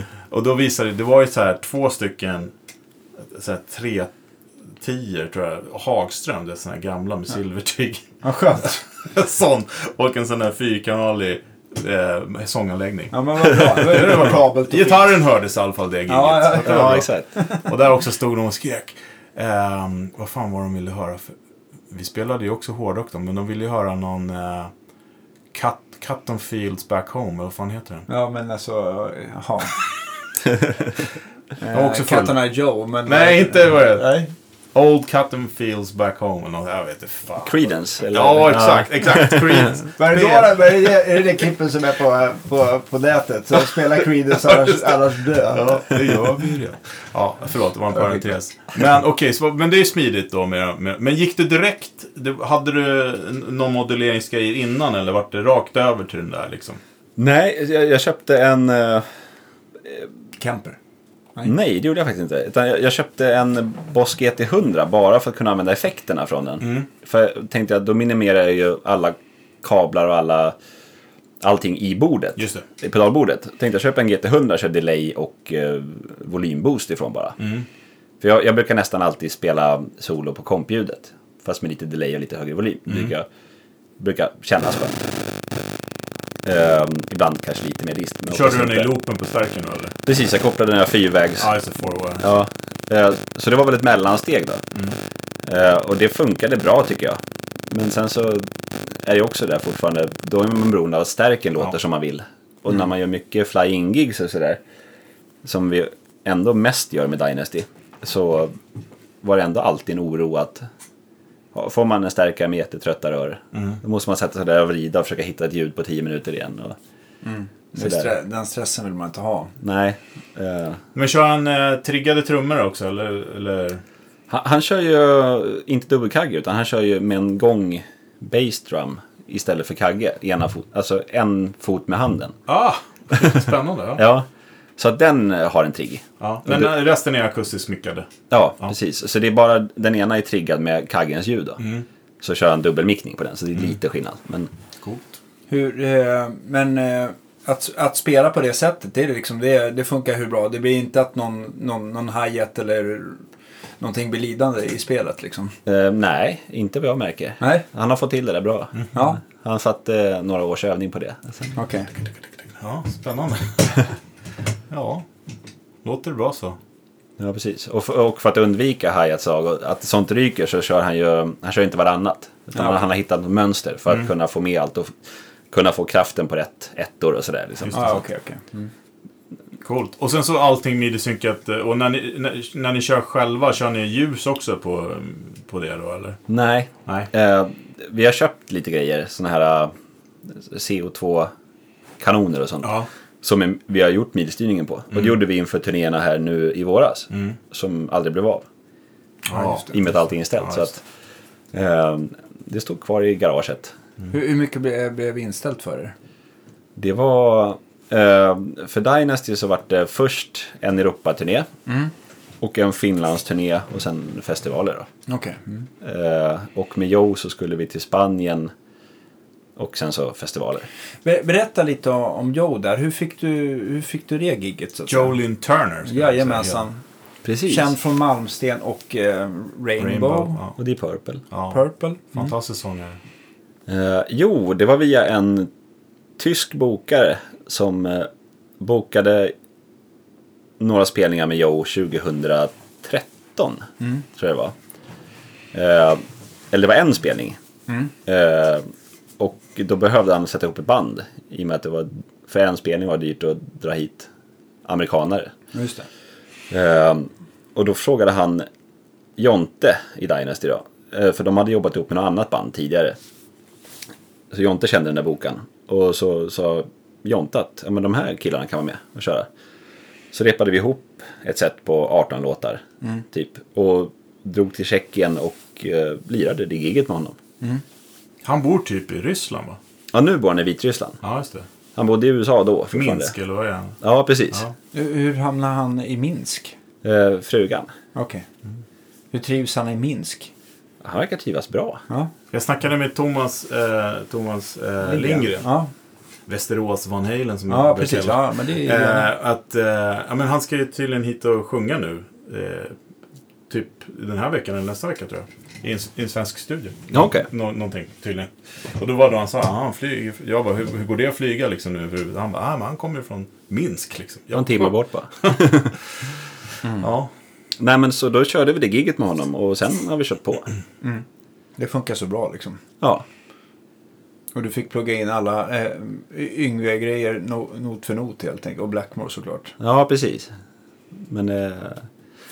och då visade det, det var ju så här två stycken, så här tre tior tror jag, Hagström, det är såna här gamla med silvertyg. Ja, skönt. En sån och en sån här fyrkanalig eh, sånganläggning. Ja, men vad bra. Det var kabelt. och fint. Gitarren hördes i alla fall det giget. Ja, ja, Det var bra. exakt. Och där också stod de och skrek. Ehm, vad fan var de ville höra? För, vi spelade ju också hårdrock då, men de ville ju höra någon eh, Cut, Cotton Fields Back Home, eller vad fan heter den? Ja, men alltså, jaha. Jag var också full. Katterna Eh, Joe, men... eh, Nej, inte vad det Nej. Old Cotton Fields Back Home, eller något, jag vet inte fan. Creedence. eller- Ja, exakt, exakt. Creedence. Vad är det, då, då? Vad är, det, är det det klippet som är på, på, på nätet? Så spela Creedence annars, annars dö. Ja, det gör vi ju det. Ja, förlåt, det var en parentes. Men okej, så- men det är ju smidigt då. Med, med, men gick du direkt, du, hade du n- någon modelleringsgrejer innan eller vart det rakt över till den där liksom? Nej, jag, jag köpte en... eh, Camper. Nej, det gjorde jag faktiskt inte. Utan jag, jag köpte en Boss GT100 bara för att kunna använda effekterna från den. Mm. För jag tänkte att då minimerar jag ju alla kablar och alla, allting i bordet. Just det. I pedalbordet. Tänkte jag köpa en GT100 och köra delay och eh, volymboost ifrån bara. Mm. För jag, jag brukar nästan alltid spela solo på kompljudet. Fast med lite delay och lite högre volym. Mm. Det Brukar, brukar kännas skönt. Ehm, ibland kanske lite mer dist. men Körde oftast du den i inte. loopen på stärken då eller? Precis, jag kopplade den här fyrvägs. Ja, just det, forward. Ja, eh, så det var väl ett mellansteg då. Eh, Och det funkade bra tycker jag. Men sen så är jag också där fortfarande. Då är man beroende av att stärken låter Ja. som man vill. Och när man gör mycket flying-gigs och sådär. Som vi ändå mest gör med Dynasty. Så var det ändå alltid en oro att ja, Får man en stärkare med jättetrötta rör, då måste man sätta sig där och vrida och försöka hitta ett ljud på 10 minuter igen. Och, Den sådär. stre- Den stressen vill man inte ha. Nej. eh, Men kör han eh, triggade trummor också eller? eller? Han, han kör ju inte dubbelkagge utan han kör ju med en gång bassdrum istället för kagge. i Ena fot, alltså en fot med handen. Ah, spännande. Ja. Ja. Så att den eh, har en trigg. Ja. Men eh, resten är akustiskt smyckade. Ja, precis. Så det är bara den ena är triggad med kaggens ljud då. Så kör han dubbelmickning på den så det är lite skillnad. Men Coolt. Hur, eh, men eh, att, att spela på det sättet, det, är liksom, det, det funkar hur bra. Det blir inte att någon, någon, någon hi-hat eller någonting blir lidande i spelet liksom. eh, nej, inte vad jag märker. Nej, Han har fått till det där bra. ja, Han satt eh, några års övning på det. Sen- okej. Ja, spännande. ja, låter bra så. Ja, precis. Och för, och för att undvika hi-hats och att sånt ryker så kör han ju, han kör inte varannat. Utan han har hittat något mönster för att Mm. kunna få med allt och f- kunna få kraften på rätt ettor och sådär. Liksom. Just det. Ja, okej, okej. Mm. Coolt. Och sen så allting midi-synkat. eh, Och när ni, när, när ni kör själva, kör ni ljus också på, på det då eller? Nej, Nej. eh, vi har köpt lite grejer, sådana här eh, CO2-kanoner och sånt. Ja. Mm. Som är- vi har gjort midstyrningen på. Och det gjorde vi inför turnéerna här nu i våras. Som aldrig blev av. Ja, just I och med att allting är ställt. Ja, så just att, eh, det stod kvar i garaget. Hur, hur mycket blev, blev inställt för er? Det var... Eh, för Dynasty så var det först en Europaturné. Och en Finlandsturné och sen festivaler. Då. Okej. Mm. Eh, och med Joe så skulle vi till Spanien. Och sen så festivaler. Be- Berätta lite o- om Joe där. Hur fick du, hur fick du det gigget? Så att säga? Jolin Turner. ska jag säga. Jajamensan. Precis. Känd från Malmsten och eh, Rainbow. Rainbow. Ja. Mm. Och det är Purple. Ja. Purple. Fantastisk sångare. Eh, jo, det var via en tysk bokare som eh, bokade några spelningar med Joe 2013. Tror jag det var. Eh, eller det var en spelning. Eh, och då behövde han sätta ihop ett band. I och med att det var för en spelning var det dyrt att dra hit amerikanare. Just det. Eh, och då frågade han Jonte i Dynasty då. Eh, för de hade jobbat ihop med något annat band tidigare. Så Jonte kände den där bokan. Och så sa Jonte att ja, men de här killarna kan vara med och köra. Så repade vi ihop ett set på 18 låtar. Typ. Och drog till Tjeckien och eh, lirade det giget med honom. Han bor typ i Ryssland va? Ja, nu bor han i Vitryssland. Ja, just det. Han bodde i USA då fortfarande. Minsk eller vad är han? Ja, precis. Ja. Hur, hur hamnade han i Minsk? Eh, frugan. Okej. Hur trivs han i Minsk? Han verkar trivas bra. Ja. Jag snackade med Thomas, eh, Thomas eh, Lindgren. Ja, Västerås Van Halen som ja jag brukar precis. kalla. Ja, men det är Eh, att, eh, ja, men han ska ju tydligen hit och sjunga nu. Eh, typ den här veckan eller nästa vecka tror jag. I en, i en svensk studio. Ja, okej. Nå- någonting tydligen. Och då var då han sa, ah, han flyger. Jag bara, hur, hur går det att flyga liksom nu? överhuvudtaget?" Han bara, ah, men han kommer ju från Minsk liksom. Det var en Jag, timme bort bara. ja. Nej men så då körde vi det giget med honom och sen har vi kört på. Det funkar så bra liksom. Ja, Och du fick plugga in alla eh, Yngve-grejer no, not för not helt enkelt. Och Blackmore såklart. ja precis. Men eh,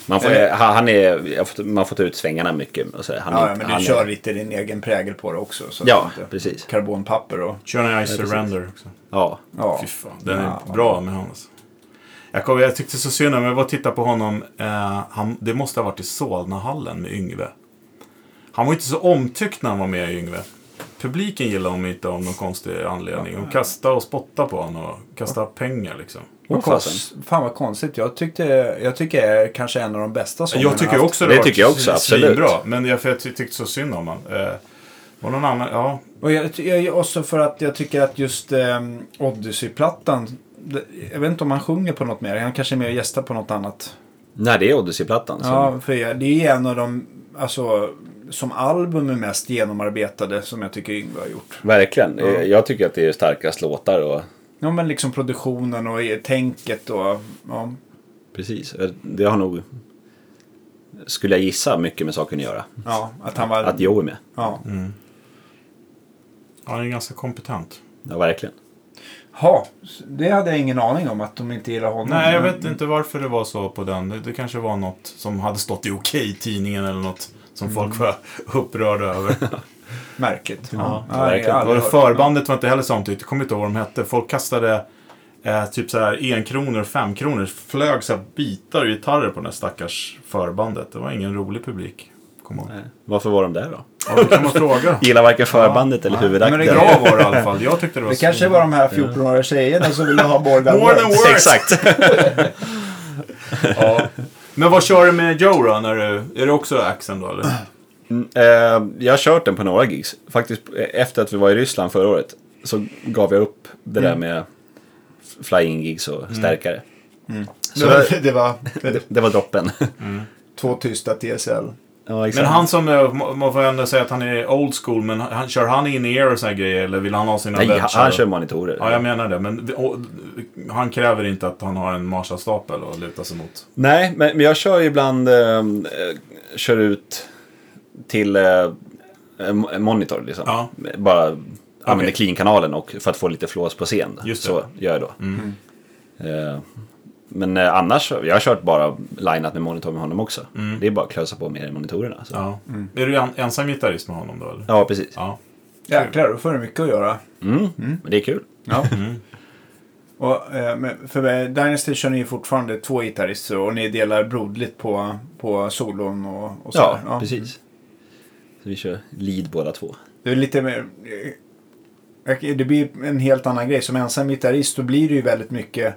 man, får, eh, han han är, jag får- man får ta ut svängarna mycket. Och så, han är Ja, ja, inte- men du han är- kör lite din egen prägel på det också. Så Ja, att inte- precis. Karbonpapper och... Kör en I surrender också. Ja. Ja. Fy fan, den är Ja, vad bra med honom. Alltså. Jag, kom, jag tyckte så synd om, jag var och tittade på honom. Eh, han, det måste ha varit i Solnahallen med Yngve. Han var inte så omtyckt när han var med i Yngve. Publiken gillade honom inte av någon konstig anledning. De kastade och spottade på honom och kastade pengar liksom. Åh, Vad kost, fan vad konstigt. Jag, tyckte, jag tycker jag är kanske en av de bästa sångerna Jag tycker haft. också Det var tycker jag också, svin- absolut. svinbra, Men jag, för jag ty- tyckte så synd om honom. Eh, var någon annan, ja. Och jag, jag, också för att jag tycker att just ehm, Odyssey-plattan. det- Jag vet inte om han sjunger på något mer. Han kanske är med och gästar på något annat. Nej det är Odyssey-plattan. som- Ja, för jag, det är ju en av de, alltså, som album är mest genomarbetade som jag tycker Yngve har gjort. Verkligen. Eh, Jag tycker att det är starkast låtar och Ja, men liksom produktionen och i- tänket och, ja. precis. Eh, Det har nog, skulle jag gissa, mycket med saken att göra. ja att han var... Att Joe är med. Ja. Mm. Han är ganska kompetent. Ja verkligen. Ha, det hade jag ingen aning om att de inte gillar honom. Nej, jag Men- vet inte varför det var så på den. Det, det kanske var något som hade stått i Okej-tidningen eller något som folk var upprörda över. Märkligt. Ja, jag har aldrig verkligen. Och hört. förbandet var inte heller samtyckt. Jag kommer inte ihåg vad de hette. Folk kastade eh, typ så här en kronor och fem kronor flög så här bitar och gitarrer på den här stackars förbandet. Det var ingen rolig publik. Kom ihåg. Varför var de där då? Ja, det kan man fråga. Gillar varken förbandet eller Men det är huvudakten. bra var det i alla fall. Jag tyckte det var Det kanske var de här 14-åriga tjejerna som ville ha more than More than words. words. Exakt. Ja. Men vad kör du med Joe då? När du, är det också Axen då eller? Mm, eh, jag har kört den på några gigs. Faktiskt eh, efter att vi var i Ryssland förra året så gav jag upp det Mm. där med flying gigs och stärkare. Det var- Det var Det, det var droppen. två tysta TSL. ja, Men han som, eh, må- man får ändå säga att han är old school, men han, kör han in i ear och såna grejer eller vill han ha sina Nej, han, badgar? han kör monitorer. Ja, jag menar det. Men vi- och, han kräver inte att han har en Marshallstapel att luta sig mot. Nej, men, men jag kör ju ibland eh, eh, kör ut till eh, en en monitor liksom. Ja. Bara använder clean-kanalen och, för att få lite flås på scen. Just det. Mm. Så gör jag då. Eh, men eh, annars, jag har kört bara lineat med monitor med honom också. Det är bara att klösa på mer i monitorerna. Så. Ja. Mm. Ja. Är du en, ensam gitarrist med honom då eller? precis. Ja. Jäklar, då får du mycket att göra. Mm. Men det är kul. Ja. Och, eh, men för mig, Dynasty kör ni fortfarande två gitarrister och ni delar broderligt på, på solon och, och så Ja, där. precis. Så vi kör lead båda två. Det är lite mer... eh, Det blir en helt annan grej. Som ensam gitarrist då blir det ju väldigt mycket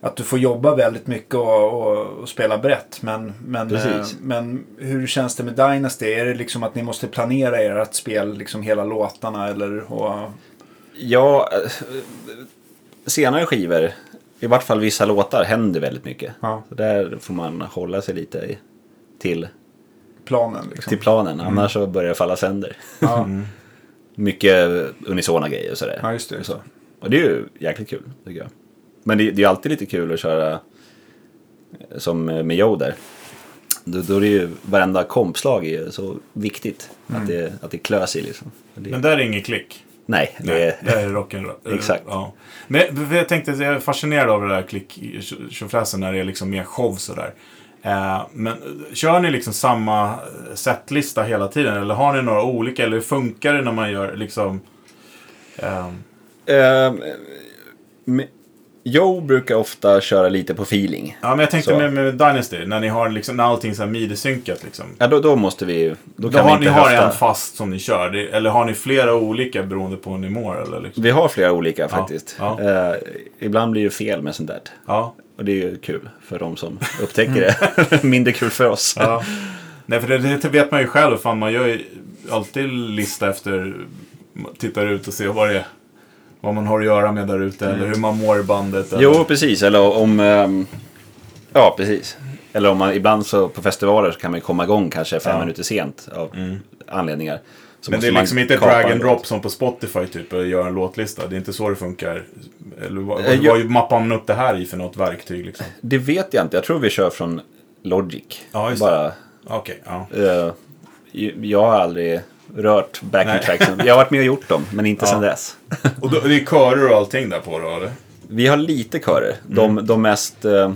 att du får jobba väldigt mycket och, och, och spela brett. Men, men, eh, Precis. men hur känns det med Dynasty? Är det liksom att ni måste planera ert spel, liksom hela låtarna eller? Och, Ja, eh, senare skivor, i vart fall vissa låtar, händer väldigt mycket. Ja. Så där får man hålla sig lite i- till, planen liksom. till planen, annars så börjar det falla sönder. Ja. Mycket unisona grejer och sådär. Ja, just det. Så. Och det är ju jäkligt kul, tycker jag. Men det, det är alltid lite kul att köra eh, som med Joe där. Då, då är det ju, varenda kompslag är ju så viktigt. Att, det, att det klös i liksom. Det, Men där är inget klick. nej, det Nej, är... där är rock'n'roll. Exakt. Ja. Men för jag tänkte, att jag är fascinerad av det där klick-tjofräsen när det är liksom mer show sådär. Eh, Men eh, kör ni liksom samma setlista hela tiden? Eller har ni några olika? Eller hur funkar det när man gör liksom... ehm, Ehm, men Joe brukar ofta köra lite på feeling. ja, men jag tänkte Så. med, med Dynasty, när ni har liksom, när allting så här midi-synkat liksom. Ja, då, då måste vi... Då Då kan har, vi ni inte har höfta. en fast som ni kör, det, eller har ni flera olika beroende på hur ni mår? Eller liksom? Vi har flera olika faktiskt. ja. Ehm, ibland blir det fel med sånt där. ja, Och det är ju kul för de som upptäcker det. Mindre kul för oss. Mm. ja. Nej, för det, det vet man ju själv, fan, man gör ju alltid lista efter, man tittar ut och ser vad det är. Vad man har att göra med där ute eller hur man mår i bandet. Eller, Mm. Jo, precis. Eller om... ehm, ja, precis. Eller om man ibland så på festivaler så kan man ju komma igång kanske fem Ja. Mm. minuter sent av anledningar. men Så det måste är man liksom inte kapa drag en and låt. drop som på Spotify typ, och gör en låtlista. Det är inte så det funkar. Eller vad, Eh, vad, jag- vad mappar man upp det här i för något verktyg liksom? Det vet jag inte. Jag tror vi kör från Logic. Ja, just det. Bara... Ah, Okej, ja. Eh, jag har aldrig rört backing tracksen. Jag har varit med och gjort dem, men inte sedan dess. Och då, det är körer och allting där på då, eller? Vi har lite körer. Mm. De, de mest, eh,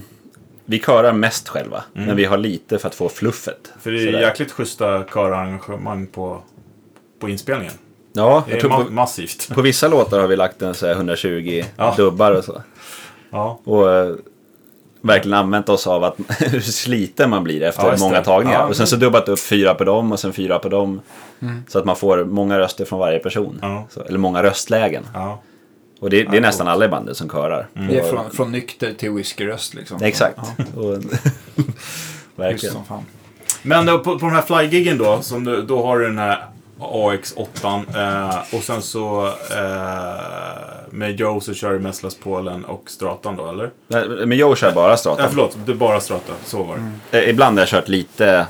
vi körar mest själva, men vi har lite för att få fluffet. För det är Sådär. jäkligt schyssta körarrangemang på, på inspelningen. Ja, Det jag är tror ma- på, massivt. på vissa låtar har vi lagt en så här 120 Ja. dubbar och så. Ja. Och eh, verkligen använt oss av att hur sliten man blir efter Ja, just många det. tagningar. Ja, och sen så dubbat upp fyra på dem och sen fyra på dem. Så att man får många röster från varje person. Ja. Så, eller många röstlägen. ja. Mm. Och det, det är nästan alla i bandet som körar. Det är Och- från, från nykter till whiskyröst liksom. Exakt. Ja, Och, just verkligen. som fan. Men då, på, på den här flygiggen då, som du, då har du den här AX8 eh, och sen så eh, med Joe så kör du Messlas Polen och Stratan då, eller? Nej, Men jag kör bara Ja, strata. förlåt, det är bara Strata. Så var det. Eh, Ibland har jag kört lite...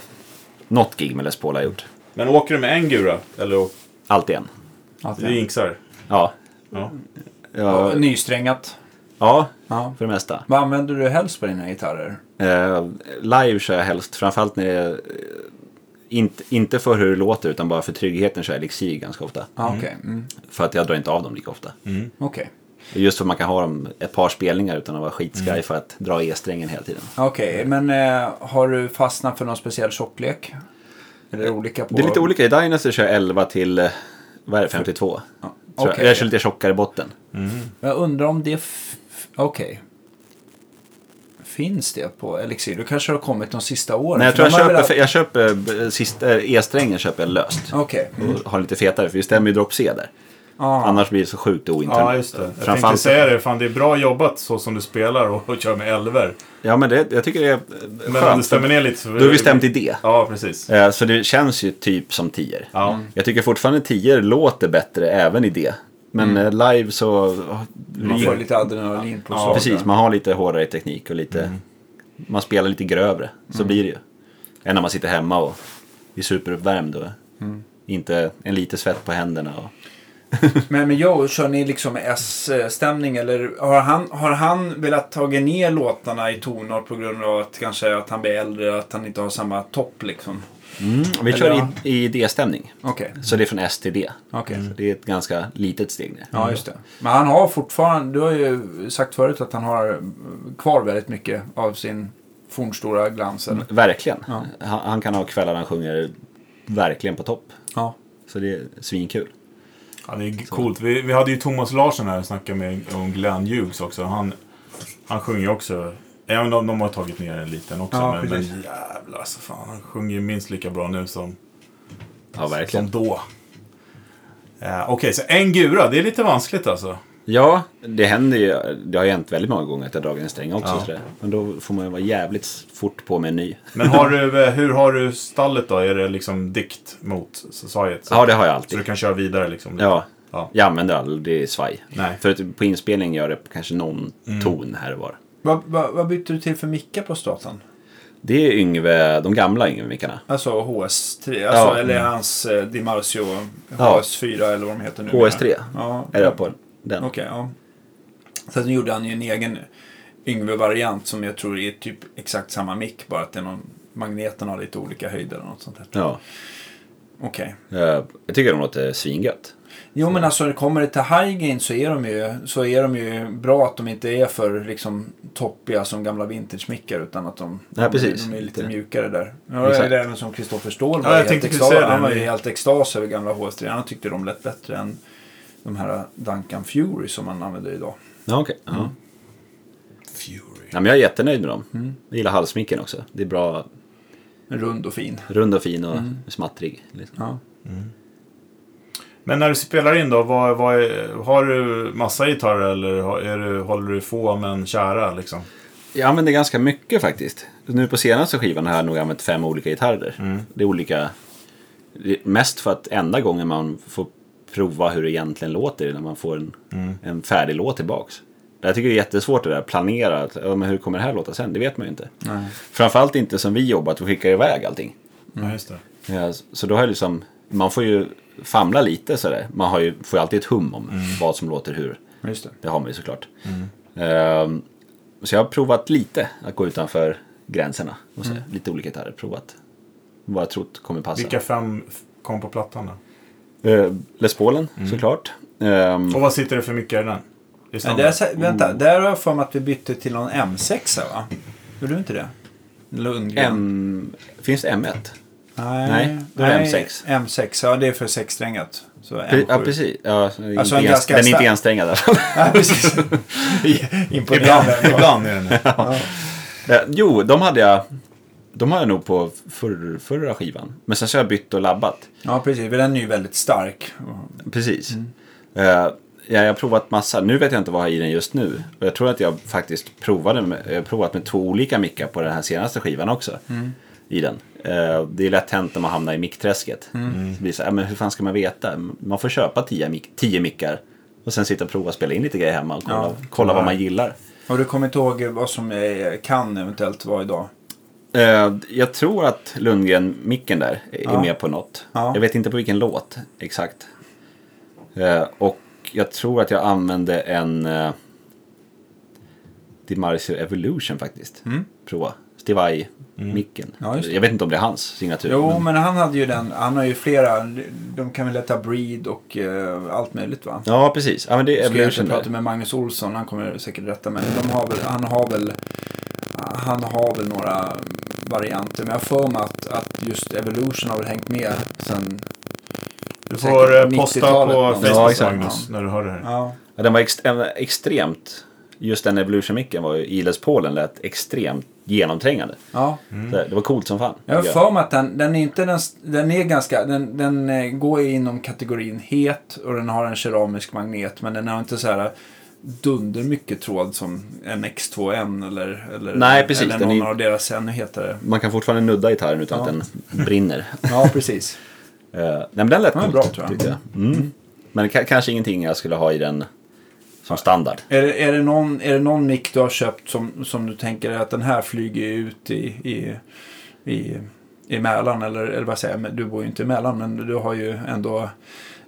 Något gig med Les Paul har jag gjort. Men åker du med en gura? Eller å- Allt igen. det är inksar? Ja. Ja. Ja, Nysträngat. ja Ja. för det mesta. Vad använder du helst på dina gitarrer? Eh, live kör jag helst. Framförallt när jag... eh, Inte, inte för hur det låter utan bara för tryggheten kör jag elixir ganska ofta. Ja, Okej. Mm. För att jag drar inte av dem lika ofta. Okej. Just för att man kan ha dem ett par spelningar utan att vara skitskraj för att dra E-strängen hela tiden. Okej, men eh, har du fastnat för någon speciell tjocklek? Är det olika på... Eh, Det är lite olika. I Dynasty kör jag 11 till eh, vad är det, 52. tror jag. okej. jag kör lite tjockare botten. Men Jag undrar om det... F- f- Okej. Finns det på Elixir? Då kanske det har kommit de sista åren. Nej, jag för tror jag de har väl köper, haft- för jag köper eh, sista, eh, E-strängen köper jag löst. Okej. Och har lite fetare, för det stämmer ju drop C där. Ah. Annars blir det så sjukt ointernt. Ja, just det. Jag tänkte säga det. Fan, det är bra jobbat så som du spelar och, och kör med elver. Ja, men det, jag tycker det är eh, Men om det skönt. för stämmer ner lite så... Då är vi stämt i det. Ja, precis. Eh, Så det känns ju typ som tier. Ja. Jag tycker fortfarande tier låter bättre även i det. Men Mm. eh, live så... Man får lite adrenalin på Ja, saker. Precis, man har lite hårdare teknik och lite... Mm. Man spelar lite grövre, så blir det ju. Än när man sitter hemma och är superuppvärmd och Mm. inte en lite svett på händerna. Och... Men med Joe, kör ni liksom S-stämning eller har han, har han velat ta ner låtarna i toner på grund av att kanske att han blir äldre, att han inte har samma topp liksom? Mm. Vi kör Eller- i, i D-stämning. Okej, Så det är från S till D. okej. Så det är ett ganska litet steg ner. Ja, just det. Men han har fortfarande, du har ju sagt förut att han har kvar väldigt mycket av sin fornstora glans. Eller? Mm. Verkligen. Ja. Han, han kan ha kvällar han sjunger verkligen på topp. Ja. Så det är svinkul. Ja, det är coolt. Vi, vi hade ju Thomas Larsson här och snackade med om Glenn Hughes också. Han, han sjunger ju också. Även om de har tagit ner en liten också. Ja, men, men precis. jävlar alltså. Fan, han sjunger ju minst lika bra nu som, Ja, verkligen. som då. Eh, Okej, så en gura. Det är lite vanskligt alltså. Ja, det händer ju. Det har ju hänt väldigt många gånger att jag dragit en sträng också. Ja. sådär. Men då får man ju vara jävligt fort på med en ny. Men har du, eh, hur har du stallet då? Är det liksom dikt mot society? Så, Ja, det har jag så alltid. du kan köra vidare liksom? Ja, Ja. jag använder aldrig svaj. Nej. För att på inspelning gör det kanske någon ton här och var. Vad, vad, vad bytte du till för mickar på stratan? Det är Yngve, de gamla Yngve-mickarna. Alltså HS3, alltså, Ja. eller hans eh, DiMarzio Ja. HS4 eller vad de heter nu. HS3 Ja, är det på den. Okej, ja. Sen gjorde han ju en egen Yngve-variant som jag tror är typ exakt samma mick bara att det är någon, magneten har lite olika höjder eller något sånt där. Ja, Okej. eh, jag tycker de låter svingött. Jo men alltså när det kommer till high gain så är de ju, så är de ju bra att de inte är för liksom toppiga som gamla vintage-mickar utan att de, Nej, de, precis. är, de är lite Lite- mjukare där. Ja, Exakt. det är även som Kristoffer Ståhl Ja, var, jag helt, tänkte precis extas, säga det. han var ju helt extas över gamla HS3. Han tyckte de lät bättre än de här Duncan Fury som man använder idag. Ja, okej. Ja. Fury. Mm. Ja, men jag är jättenöjd med dem. Jag gillar halsmicken också. Det är bra, Rund och fin. rund och fin och smattrig. Liksom. Ja. Men när du spelar in då, vad, vad är, har du massa gitarrer eller har, är du, håller du få men kära liksom? Jag använder ganska mycket faktiskt. Nu på senaste skivan har jag nog använt fem olika gitarrer. Det är olika... det är Mest för att enda gången man får prova hur det egentligen låter är när man får en, en färdig låt tillbaks. Jag tycker det är jättesvårt det där, planera. att, Ja, men hur kommer det här låta sen? Det vet man ju inte. Framförallt inte som vi jobbar, att vi skickar iväg allting. Ja, just det. Ja, så då har jag liksom... Man får ju famla lite sådär. Man har ju, får ju alltid ett hum om vad som låter hur. Just det. Det har man ju såklart. Ehm, så jag har provat lite att gå utanför gränserna. Och så, Lite olika gitarrer, provat. Vad jag trott kommer passa. Vilka fem f- kom på plattan då? Ehm, Les Paulen såklart. Ehm, Och vad sitter det för mycket i den? I Men standard? där, sa- vänta, där har jag för mig att vi bytte till någon M6 va? Gjorde du inte det? Lundgren. M, finns det M1? Nej, Nej, då är det M6. M6, ja det är för sexsträngat. Så M7. Pre- Ja, precis. Ja, Alltså en inte ens, ganska den är inte alltså. stark- ensträngad i alla fall. Ja, precis. Ibland, Imponerande. ibland är den det. Eh, Jo, de hade jag. De har jag nog på förr, förra skivan. Men sen så har jag bytt och labbat. Ja, precis. Men den är ju väldigt stark. Precis. Mm. Eh, ja, jag har provat massa. Nu vet jag inte vad jag har i den just nu. Och jag tror att jag faktiskt provade med, jag har provat med två olika mickar på den här senaste skivan också. Mm. I den. Eh, det är lätt hänt när man hamnar i mickträsket. Mm. Det blir så, här, men hur fan ska man veta? Man får köpa tio, mic- tio mickar. Och sen sitta och prova och spela in lite grejer hemma och kolla, Ja. kolla vad man gillar. Och du kommer inte ihåg vad som eh, kan eventuellt vara idag? Eh, jag tror att Lundgren-micken där är Ja. med på något. Ja. Jag vet inte på vilken låt exakt. Eh, och jag tror att jag använde en eh, DiMarzio Evolution faktiskt. Prova. Stivai-micken. Mm. Ja, just det. jag vet inte om det är hans signatur. Jo, men- men han hade ju den. Han har ju flera. De kan väl heta Breed och eh, allt möjligt va? Ja, precis. Ja, men det är Jag ska Evolution egentligen där. prata med Magnus Olsson. Han kommer säkert rätta mig. De har väl, han, har väl, han har väl några varianter. Men jag har för mig att, att just Evolution har väl hängt med sen... Du säkert får eh, posta 90-talet på någon. Facebook Ja, exakt. Magnus när du hör det här. Ja. Ja, den var ex- en extremt just den Evolution-micken var ju i Les Paulen lät extremt genomträngande. Ja. Så Det var coolt som fan. Mm. Jag har tycker för mig att den, den är inte den, den är ganska, den, den eh, går inom kategorin het och den har en keramisk magnet men den har inte så här dunder mycket tråd som en X2N eller, eller, Nej, precis. eller Den någon är- av deras ännu hetare. Man kan fortfarande nudda gitarren utan att den brinner. Ja, precis. Eh, nej men den lät Den var coolt, bra, tror jag. tyckte jag. Mm. Men ka- kanske ingenting jag skulle ha i den som standard. Är det, är det någon, är det någon mick du har köpt som, som du tänker att den här flyger ut i, i, i, i Mälaren? Eller, eller vad säger jag? Men Du bor ju inte i Mälaren, men du har ju ändå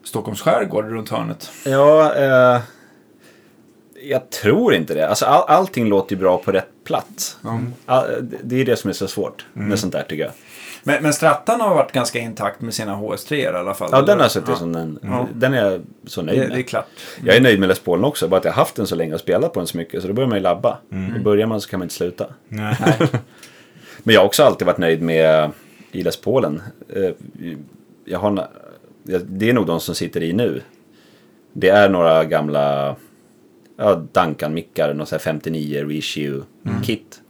Stockholms skärgård runt hörnet. Ja, eh, jag tror inte det. Alltså, all, allting låter ju bra på rätt plats. All, det- det är det som är så svårt med sånt där tycker jag. Men, men Strattan har varit ganska intakt med sina HS3 i alla fall. Ja, den har eller? jag suttit som den. Den är jag så nöjd Det, med. det är klart. Jag är nöjd med Les Paulen också, bara att jag har haft den så länge och spelat på den så mycket. Så då börjar man ju labba. Och börjar man så kan man inte sluta. Nej. Men jag har också alltid varit nöjd med i Les Paulen. Eh, Jag har, en- jag- det är nog de som sitter i nu. Det är några gamla ja, Duncan-mickar, någon sån här 59 Mm. reissue-kit.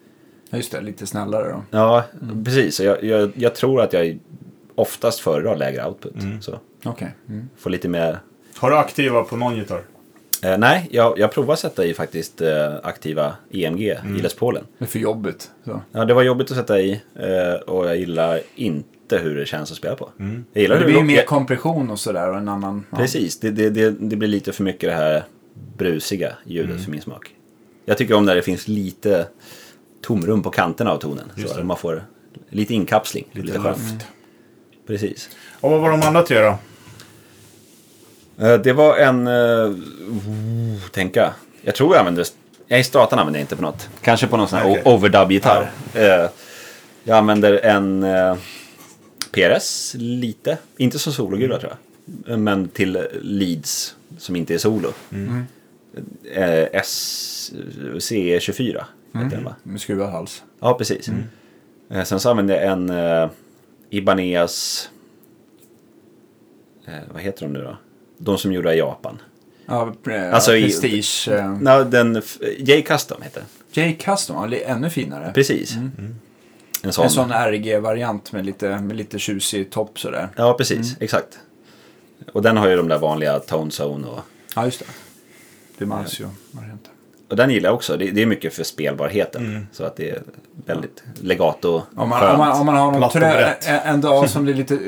Ja, Just det, lite snällare då. Ja, precis. Så Jag, jag, jag tror att jag oftast föredrar lägre output. Så Okej. Mm. får lite mer... Har du aktiva på någon gitarr? Eh, nej, jag, jag provar sätta i faktiskt eh, aktiva EMG Mm. i Les Paulen. Det är för jobbigt. Så. Ja, det var jobbigt att sätta i eh, och jag gillar inte hur det känns att spela på. Jag gillar Mm. Det hur blir ju lå- mer jag- kompression och sådär och en annan... ja. Precis, det, det, det, det blir lite för mycket det här brusiga ljudet Mm. för min smak. Jag tycker om när det finns lite tomrum på kanterna av tonen. Just Så det. att man får lite inkapsling. Lite skönt. luft. Precis. Och vad var de andra tre då? Eh, Det var en... eh, oh, tänka. Jag tror jag använde... Jag i stratan använde jag inte på något. Kanske på någon sån här Okej. o- overdub-gitarr. Eh, Jag använder en eh, PRS lite. Inte som sologula tror jag. Men till leads som inte är solo. Eh, S- CE24 heter den va? Med skruvad hals. Ja, precis. Mm. Eh, Sen så använde jag en eh, Ibanez... Eh, vad heter de nu då? De som gjorde i Japan. Ja, pre- Alltså i- prestige. eh, Nej, den... f- J-Custom heter den. J Custom, ja, li- ännu finare. Precis. En sån. En sån RG-variant med lite, med lite tjusig topp sådär. Ja, precis. Mm. Exakt. Och den har ju de där vanliga Tone Zone och... Ja, just det. Dimasio-varianten. Och den gillar jag också. Det, det är mycket för spelbarheten. Så att det är väldigt legato. Mm. Om man, skönt. om, man, om man har någon Platt och trö- brett. en, en dag som det är lite eh,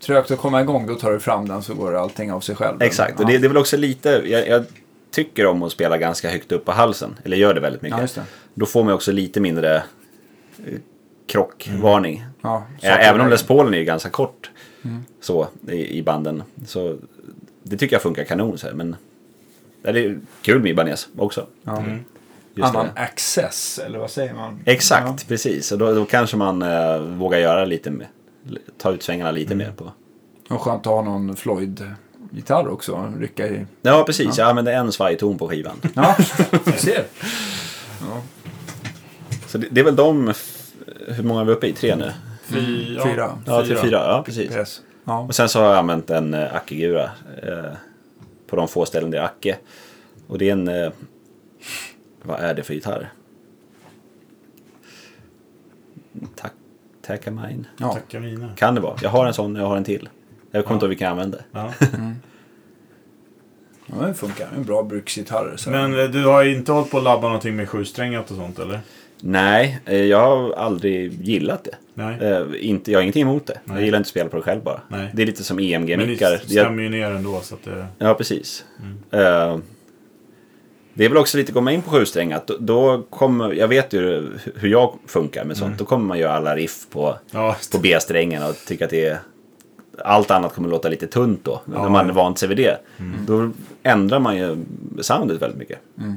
trögt att komma igång, då tar du fram den så går allting av sig själv. Exakt. Och Ja. det, det är väl också lite... Jag, jag tycker om att spela ganska högt upp på halsen. Eller gör det väldigt mycket. Ja, just det. Då får man ju också lite mindre eh, krockvarning. Ja, Ä- Även om Les Paulen är ju ganska kort så, i, i banden. Så det tycker jag funkar kanon. Så här, men ja, det är kul med Ibanez också. Ja. Mm. Mm. Mm. Just Annan det. access, eller vad säger man? Exakt, precis. Och då, då kanske man eh, vågar göra lite mer. Ta ut svängarna lite mer på. Och skönt att ha någon Floyd-gitarr också, rycka i. Ja, precis. Jag använder en svajton på skivan. Ja, du ser. Så det, det är väl de, f- hur många är vi uppe i? Tre nu? Fyra. Fyra. Ja, till fyra. Ja, precis. Yes. Ja. Och sen så har jag använt en eh, Akegura eh, på de få ställen där jag är Acke. Och det är en... Eh, vad är det för gitarr? Tak Takamine? Ja. Tackar mina. Kan det vara. Jag har en sån, jag har en till. Jag kommer inte ihåg vilken jag använde. Ja. ja, den funkar. En bra bruksgitarr. Så. Men eh, du har ju inte hållit på att labba någonting med sjusträngat och sånt eller? Nej, eh, jag har aldrig gillat det. Nej. Eh, inte, jag har ingenting emot det. Jag Nej. gillar inte att spela på det själv bara. Nej. Det är lite som E Men EMG-mickar. det stämmer ju ner ändå så att det... Ja, precis. Eh, det är väl också lite, komma in på sjusträngat, då, då kommer, jag vet ju hur- hur jag funkar med sånt, då kommer man göra alla riff på, Ja, på B-strängen och tycka att det är, allt annat kommer låta lite tunt då, när Ja, man ja. vant sig vid det. Då ändrar man ju soundet väldigt mycket. Mm.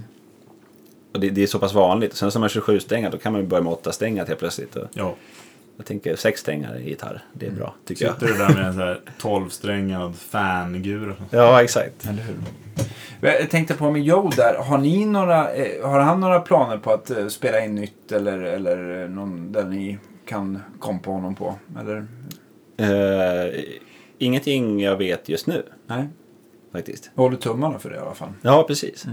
Och det, det är så pass vanligt. Sen som man kör sjusträngat, då kan man ju börja med åtta strängat helt plötsligt. Och ja. jag tänker sex strängar i gitarr, det är bra tycker jag. Sitter du där med en sån här 12-strängad fangura? Ja, exakt. Eller hur? Jag tänkte på med Joe där. Har, ni några, eh, har han några planer på att eh, spela in nytt eller, eller eh, någon där ni kan kompa honom på? Eller? Eh, ingenting jag vet just nu, Nej. faktiskt. Jag håller tummarna för det i alla fall. Ja, precis.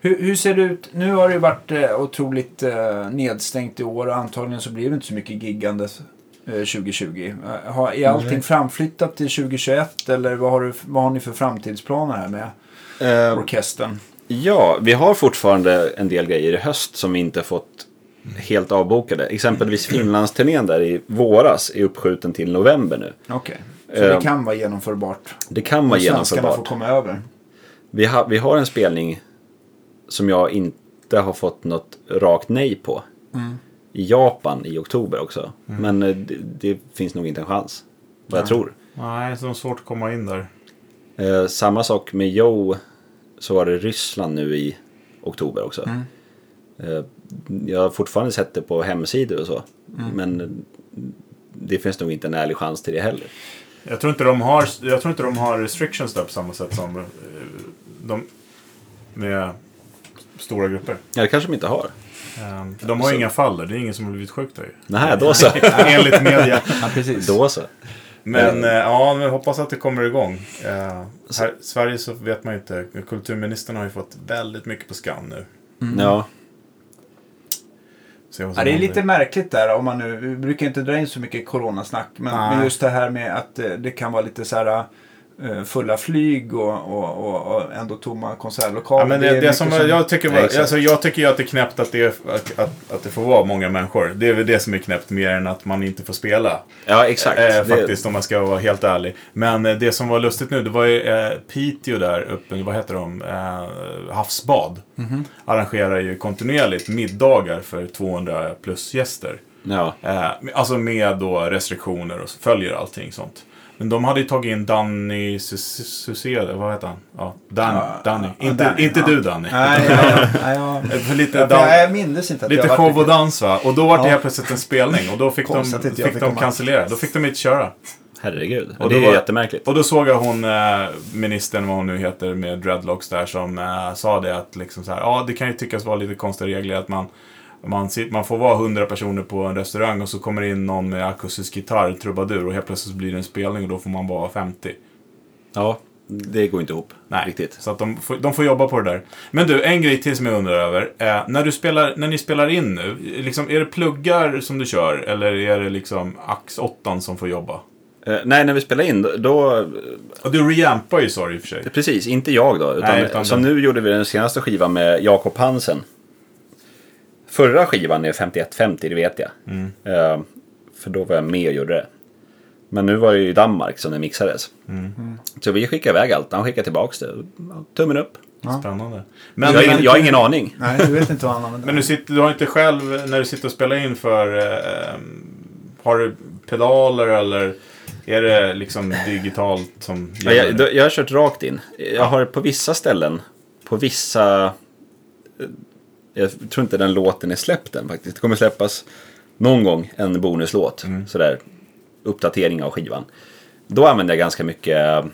Hur, hur ser det ut? Nu har det ju varit eh, otroligt eh, nedstängt i år och antagligen så blir det inte så mycket giggande eh, 2020. Eh, Har, är allting framflyttat till 2021 eller vad har, du, vad har ni för framtidsplaner här med Eh, orkestern? ja, vi har fortfarande en del grejer i höst som vi inte fått helt avbokade. Exempelvis Mm. Finlandsturnén där i våras är uppskjuten till november nu. Okej, så det Eh, kan vara genomförbart. Det kan vara Och svenskarna får genomförbart. komma över. Vi, ha, vi har en spelning som jag inte har fått något rakt nej på. I Japan i oktober också. Mm. Men eh, det, det finns nog inte en chans. Vad jag tror. Nej, så det är svårt att komma in där. Eh, samma sak med Joe. Så var det Ryssland nu i oktober också. Mm. Eh, jag har fortfarande sett det på hemsidor och så. Mm. Men det finns nog inte en ärlig chans till det heller. Jag tror inte de har, jag tror inte de har restrictions där på samma sätt som eh, de med stora grupper. Ja, det kanske de inte har. Ehm, De har ju inga fall där. Det är ingen som har blivit sjuk där ju. Nej, då så. Enligt media. Ja, precis. då så. Men eh, ja, men jag hoppas att det kommer igång. Eh, här, i Sverige så vet man ju inte. Kulturministern har ju fått väldigt mycket på skam nu. Mm. Ja. Se vad som Ja, det är händer. lite märkligt där om man nu, vi brukar inte dra in så mycket coronasnack, men, Nej. men just det här med att eh, det kan vara lite så här eh, fulla flyg och, och, och, och ändå tomma konsertlokaler. Ja, men det, det, är mycket som, jag tycker Ja, var, exakt. alltså, jag tycker ju att det är knäppt att det, att, att, att det får vara många människor. Det är väl det som är knäppt mer än att man inte får spela. Ja, exakt. Eh, Det- faktiskt, om man ska vara helt ärlig. Men eh, det som var lustigt nu, det var ju eh, Piteå där uppe, vad heter de, eh, Havsbad. Mhm. Arrangerar ju kontinuerligt middagar för 200 plus gäster. Ja. Eh, med- alltså med då restriktioner och så följer allting sånt. Men de hade ju tagit in Danny Susede, vad heter han? Ja, Dan, Danny. Inte, Danny, inte ja. du Danny. Nej, ja, ja, ja, ja. Eh, För lite, Ja, för dan- jag mindes inte att lite jag show och varit dans va? Och då var det Ja. helt plötsligt en spelning och då fick de, Konstigt att jag fick fick de komma. cancellera. Då fick de inte köra. Herregud. Och det då är var- jättemärkligt. Och då såg jag hon, eh, ministern, vad hon nu heter, med dreadlocks där, som eh, sa det att liksom så här, ja, det kan ju tyckas vara lite konstiga regler att man man, sit- man får vara 100 personer på en restaurang och så kommer det in någon med akustisk gitarr, trubadur och helt plötsligt blir det en spelning och då får man vara 50. Ja, det går inte ihop. Nej, Riktigt. så att de, får, de får jobba på det där. Men du, en grej till som jag undrar över. Eh, när, du spelar, när ni spelar in nu, liksom, är det pluggar som du kör eller är det liksom ax 8 som får jobba? Eh, nej, när vi spelar in då... då Och du reampar ju sa du i och för sig. eh, precis, inte jag då. Utan, Nej, utan som du. nu gjorde vi den senaste skivan med Jakob Hansen. Förra skivan är 5150, det vet jag. Mm. Eh, för då var jag med och gjorde det. Men nu var det ju i Danmark som det mixades. Mm. Så vi skickade iväg allt. Han skickade tillbaka det. Tummen upp. Spännande. Men, jag, har ingen- jag har ingen aning. Nej, du vet inte vad han använder. Men du, sitter, du har inte själv, när du sitter och spelar in för, eh, har du pedaler eller är det liksom digitalt som Ja, jag, då- jag har kört rakt in. Jag har på vissa ställen, på vissa... eh, Jag tror inte den låten är släppt än faktiskt. Det kommer släppas någon gång en bonuslåt. Mm. Sådär, uppdatering av skivan. Då använder jag ganska mycket, eh,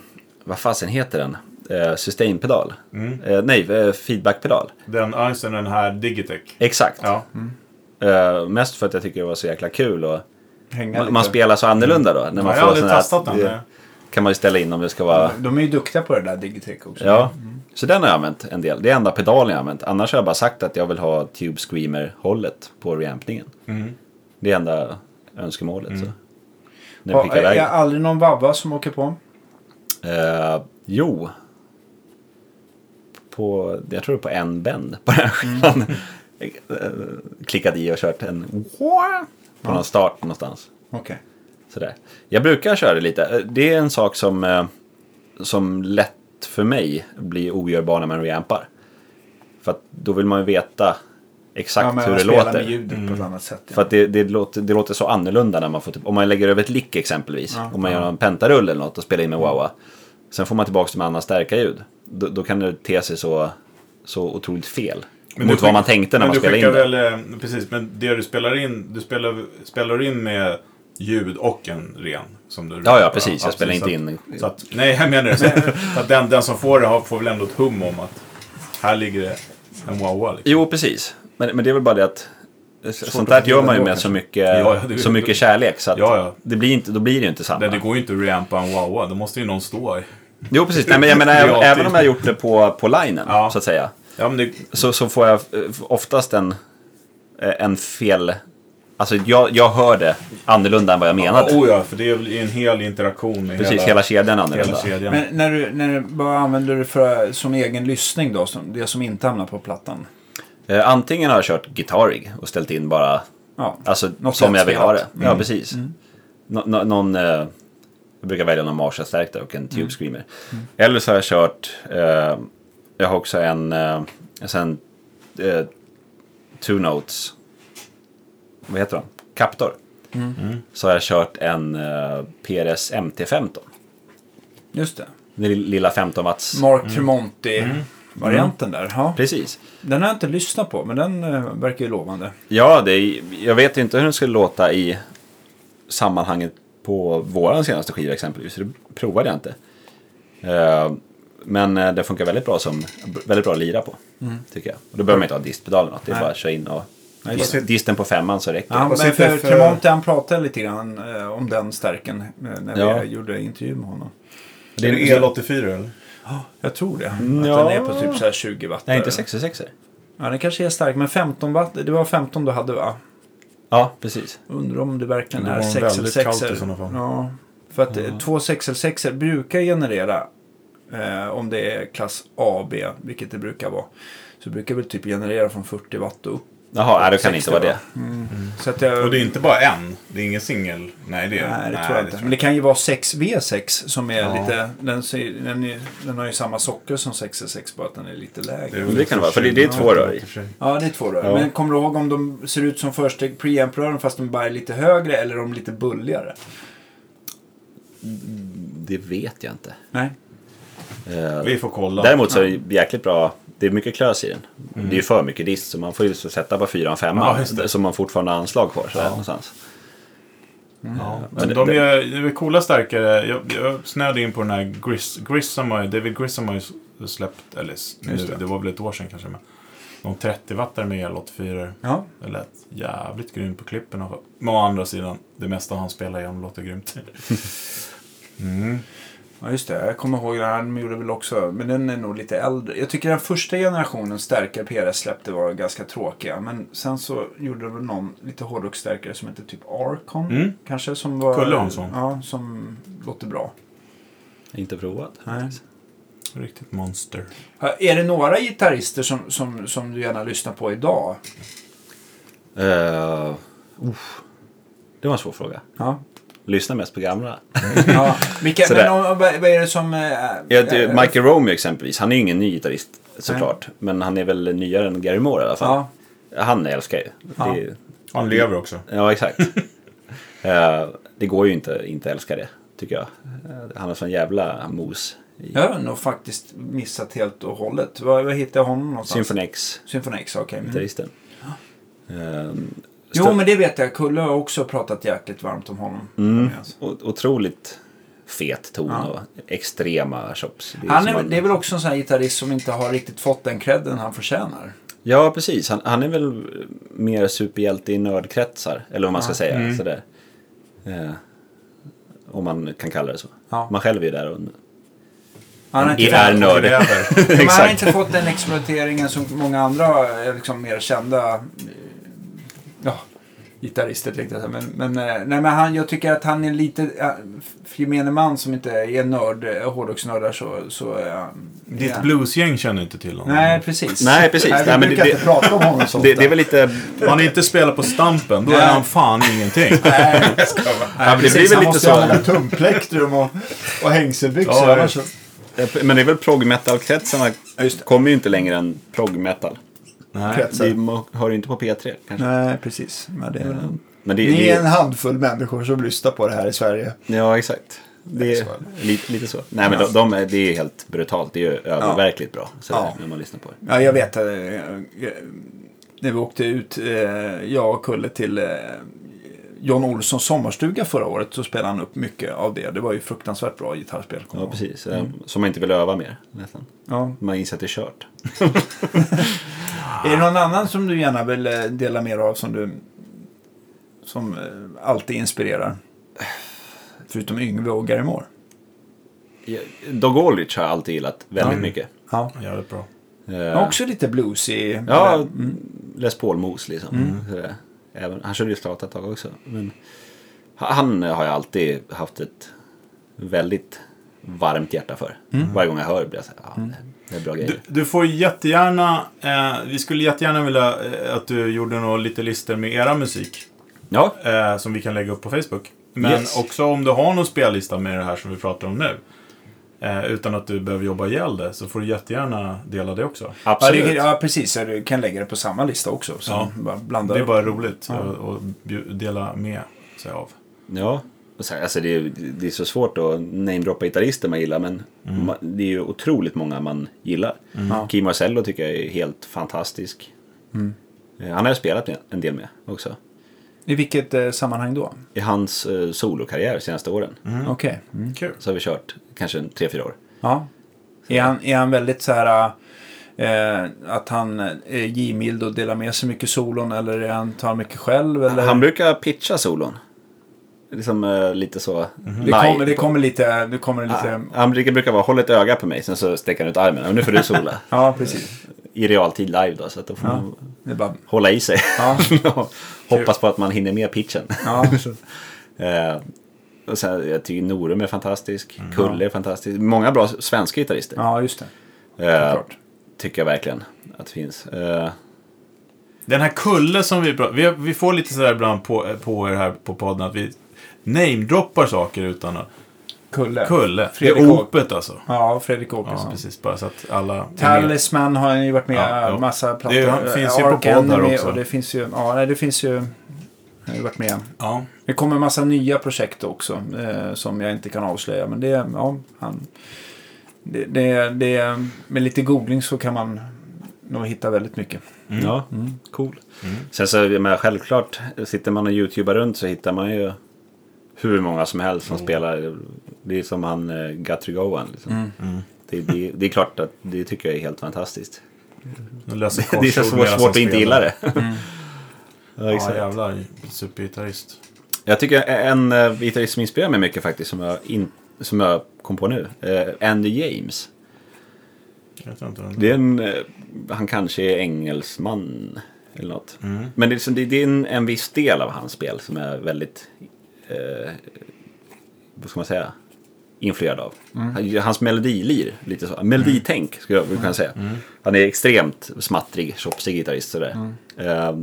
vad fasen heter den? Eh, Sustainpedal. Mm. Eh, nej, eh, feedbackpedal. Den, alltså den här Digitech. Exakt. Ja. Eh, mest för att jag tycker det var så jäkla kul. Och Hänga man, man lite. spelar så annorlunda då. När man Ja, jag får har aldrig sån här- testat den. Mm. det kan man ju ställa in om det ska vara... De är ju duktiga på det där Digitech också. Ja, så den har jag använt en del. Det är enda pedalen jag har använt. Annars har jag bara sagt att jag vill ha Tube Screamer-hållet på reampningen. Det är enda önskemålet. Så. När jag Ja, skickar är iväg. jag aldrig någon vabba som åker på? Eh, jo. På, jag tror det var på en bänd på den här skivan. Eh, Klickat i och kört en... På någon start någonstans. Okej. Sådär. Jag brukar köra det lite. Eh, Det är en sak som, eh, som lätt för mig blir ogörbar när man reampar. För att då vill man ju veta Ja, exakt men hur man det spelar med låter. ljudet på Mm. ett annat sätt. För att det, det, låter, det låter så annorlunda när man får typ, om man lägger över ett lick exempelvis. Ja, om man gör en pentarull eller något och spelar in med wawa. Sen får man tillbaka det med annat starka ljud. Då, då kan det te sig så, så otroligt fel. Men mot du vad skick- man tänkte när men man du spelade in skickar det. Väl, eh, precis, men det du spelar in, du spelar, spelar in med ljud och en ren. Som du Ja, ja, precis. Jag spelar absolut. inte så in- Att, så att, nej, jag menar det. Så så att den, den som får det har- får väl ändå ett hum om att här ligger det en wawa. Liksom. Jo, precis. Men, men det är väl bara det att sånt att där gör förstå man ju då, med kanske. så mycket, Ja, ja, det- så mycket kärlek så att Ja, ja. Det blir inte, då blir det ju inte samma. Nej, det går ju inte att reampa en wawa. Då måste ju någon stå i. Jo, precis. Nej, men jag menar, Det är alltid- även om jag har gjort det på, på linen, Ja. så att säga. Ja, men det, så, så får jag eh, oftast en, eh, en fel... Alltså jag, jag hör det annorlunda än vad jag menade. oh ja, för det är väl en hel interaktion med Precis, hela hela, kedjan är hela annorlunda. kedjan. Men när du, när du bara använder det för, som egen lyssning då, som, det som inte hamnar på plattan? Eh, Antingen har jag kört gitarrig och ställt in bara Ja. Alltså Något som jag vill ha det. lättspelat. Ja, precis. Nå- nå- någon, eh, jag brukar välja någon Marshall-stärkta och en Tube Screamer. Eller så har jag kört, eh, jag har också en, eh, alltså en eh, Two Notes, vad heter de? Captor. Så har jag kört en eh, PRS MT-15. Just det. Den lill- lilla 15 watts. Mark Tremonti-varianten där. Ja. Precis. Den har jag inte lyssnat på, men den eh, verkar ju lovande. Ja, det är, jag vet ju inte hur den skulle låta i sammanhanget på våran senaste skiva exempelvis. så Det provade jag inte. Eh, Men eh, det funkar väldigt bra som väldigt bra att lira på. Tycker jag. Och då behöver man inte ha distpedalen. att Det är Nej. bara att köra in och Nej, dist, disten på femman så räcker Ja, det. men Och för, sitter för- Tremonti han pratade lite grann eh, om den stärken eh, när Ja. vi gjorde intervju med honom. Det är en El 84 eller? Jag tror det. Att ja. den är på typ så här 20 watt. Nej, där. inte 66 er. Ja, den kanske är stark, men 15 watt. Det var 15 du hade va? Ja, precis. Undrar om det verkligen Det är var 6 eller väldigt 6 kallt i sådana fall. Ja, för att eh, två 6 eller 6 brukar generera, eh, om det är klass AB, vilket det brukar vara, så brukar väl typ generera från 40 watt och upp. Jaha, nej, det kan inte 60 vara det. va? Mm. Så att jag, Och det är inte bara en. Det är ingen singel. Nej, det är Nej, det tror jag inte. Men det kan ju vara 6V6 som är lite... Den, ser- den, är, den har ju samma socker som 666 bara att den är lite lägre. väl Men det kan det vara, för det- det är 20 två rör i. och för sig. Ja, det är två rör. Ja. Men kommer du ihåg om de ser ut som försteg preamp-rören fast de bara är lite högre eller om lite bulligare? Det vet jag inte. Nej. Eh, Vi får kolla. Däremot så är det jäkligt bra. Det är mycket klös i den. Det är ju för mycket dist så man får ju så sätta på fyran, Ja, femman. just det. så man fortfarande har anslag kvar. Så här någonstans. Ja, Men Mm. men det- de är, de är coola stärkare. Jag, jag snöade in på den här Gris, Grissom, har ju- David Grissom har ju släppt, eller s- nu, Just det. det. var väl ett år sedan kanske, men de 30 wattare med el-84. Ja. Det lät jävligt grymt på klippen. och- Men å andra sidan, det mesta han spelar igenom låter grymt. Mm. ja, just det. Jag kommer ihåg den här. De gjorde väl också... Men den är nog lite äldre. Jag tycker den första generationen stärkare PRS släppte var ganska tråkiga. Men sen så gjorde de någon lite hårdrocksstärkare som hette typ Arcon. Mm. Kanske som var... Kulle Hansson. Ja, som låter bra. Inte provat. Nej. Riktigt monster. Ja, Är det några gitarrister som, som, som du gärna lyssnar på idag? Eh, uff. det var en svår fråga. Ja. Lyssna mest på gamla. ja. Vilka, Sådär. men om, vad, vad är det som... Eh, Ja, det- Michael Romeo exempelvis. Han är ju ingen ny gitarrist såklart. Men han är väl nyare än Gary Moore i alla fall. Ja. Han älskar ju. Ja. Det, är- Han lever också. ja, exakt. Eh, det går ju inte inte älska det, tycker jag. Eh, Han har sån jävla mos. i Jag har nog faktiskt missat helt och hållet. Var, var hittade jag honom någonstans? Symfonex. Symfonex, okej. Mm. gitarristen. Ehm, Jo, stö- men det vet jag. Kulle har också pratat jäkligt varmt om honom. Mm, Alltså. o- otroligt fet ton Ja. och extrema chops. Det är Han som är, man- det är väl också en sån här gitarrist som inte har riktigt fått den credden han förtjänar. Ja, precis. Han, han är väl mer superhjälte i nördkretsar, eller vad man ska säga. Sådär. Eh, om man kan kalla det så. Ja. Man själv är ju där och Han har är, fått- är nörd. Lever. Men han har Exakt. inte fått den exploateringen som många andra eh, liksom, mer kända eh, ja, gitarrister tänkte jag säga. Men, men, eh, nej, men han, jag tycker att han är lite, eh, för gemene man som inte är nörd, eh, hårdrocksnördar så, så eh, Ditt ja. bluesgäng känner inte till honom. Nej, precis. Nej, precis. Nej, vi Nej, men det, brukar inte det, prata om honom så det, ofta. det är väl lite... Om han inte spelar på Stampen, då är Nej. han fan ingenting. Ja, men det blir Precis, väl han lite måste ju så... använda tumplektrum och, och hängselbyxor. Ja, annars så- Men det är väl prog metal-kretsarna kommer ju inte längre än prog metal. Nej. kretsar. Vi må- hör ju inte på P3 kanske. Nej, precis. Men det är väl en- Men det, Ni det- är en handfull människor som lyssnar på det här i Sverige. Ja, exakt. Det är lite, lite så. Nej, men de, de är, det är helt brutalt. Det är ju öververkligt bra så Ja. när man lyssnar på det. Ja, jag vet. eh, eh, När vi åkte ut, eh, jag och Kulle, till eh, John Olssons sommarstuga förra året så spelade han upp mycket av det. Det var ju fruktansvärt bra gitarrspel. kommer Ja, jag ihåg. precis. Eh, Så man inte vill öva mer. Nästan. Ja. Man inser att det är kört. Är det någon annan som du gärna vill eh, dela mer av som du som eh, alltid inspirerar? Förutom Yngve och Gary Moore. Ja, Dog Oldrich har jag alltid gillat väldigt mycket. Ja. Jävligt bra. Eh, Ja. Också lite bluesig. Ja, Eller- mm. Les Paul-mos liksom. Sådär. Även, han körde ju strata ett tag också. Men han har jag alltid haft ett väldigt varmt hjärta för. Mm. Varje gång jag hör blir jag såhär, ja, det är bra grejer. Du, du får jättegärna, eh, vi skulle jättegärna vilja eh, att du gjorde några lite listor med era musik. Ja, eh, som vi kan lägga upp på Facebook. Men Yes. också om du har någon spellista med det här som vi pratar om nu. Eh, utan att du behöver jobba ihjäl det så får du jättegärna dela det också. Ja, absolut. det, ja, precis. Ja, Du kan lägga det på samma lista också. Så Ja. bara blanda Det är upp. bara roligt att att bju- dela med sig av. Ja, och sen, alltså det, är, det är så svårt att namedroppa gitarrister man gillar men ma- det är ju otroligt många man gillar. Ja. Mm. Kim Marcello tycker jag är helt fantastisk. Eh, Han har jag spelat med- en del med också. I vilket eh, sammanhang då? I hans eh, solokarriär senaste åren Okej. Kul. så har vi kört kanske en tre, fyra år. Ja. Är han, är han väldigt så här... Eh, att han är givmild och delar med sig mycket solon eller är han tar mycket själv? Eller? Han brukar pitcha solon. Liksom eh, lite så... det, live. kommer, det kommer lite... Det kommer lite Ah, Han brukar, brukar vara håll ett öga på mig sen så sträcker han ut armen. "Ja, Nu får du sola. Ja, precis. I realtid live då så att då får man Det är bara, hålla i sig. Ja. Och Hoppas på att man hinner med pitchen. ja. Eh, och sen, jag tycker Norum är fantastisk. Mm, Kulle är fantastisk. Många bra svenska gitarrister. ja, just det. Eh, såklart. tycker jag verkligen att det finns. Eh, Den här kulle som vi pratar vi, vi får lite sådär ibland på, eh, på er här på podden att vi namedroppar saker utan att... Kulle. Kulle. Fredrik det är Åk- opet alltså. Ja, Fredrik Ja, Åkesson. precis. Bara så att alla... Talisman har han ju varit med Ja, i jo. massa plattor. Det är- finns ju Ark på podd här Enemy också. Och det finns ju, ja, nej, det finns ju... Jag har ju varit med. Ja. Det kommer en massa nya projekt också eh, som jag inte kan avslöja. Men det, ja, han... Det, det, det, med lite googling så kan man nog hitta väldigt mycket. Mm. Ja, cool. Sen så, jag menar, självklart, sitter man och youtubar runt så hittar man ju hur många som helst Mm. som spelar. Det är som han eh, Guthrie Gowan. Liksom. Mm. Det, det, det är klart att det tycker jag är helt fantastiskt. de löser det är så korsord svårt, medan svårt att de inte spelar. Mm. gilla det. ja, Ja, exakt. jävlar. Supergitarrist. Jag tycker en eh, gitarrist som inspirerar mig mycket faktiskt, som jag, in, som jag kom på nu, eh, Andy James. Jag vet inte vem det Det är en, eh, han kanske är engelsman eller något. Men det är, liksom, det det är en, en viss del av hans spel som är väldigt, eh, vad ska man säga, influerad av. Han- Hans melodilir, lite så. Meloditänk skulle jag kunna säga. Han är extremt smattrig, tjopsig gitarrist sådär. Eh,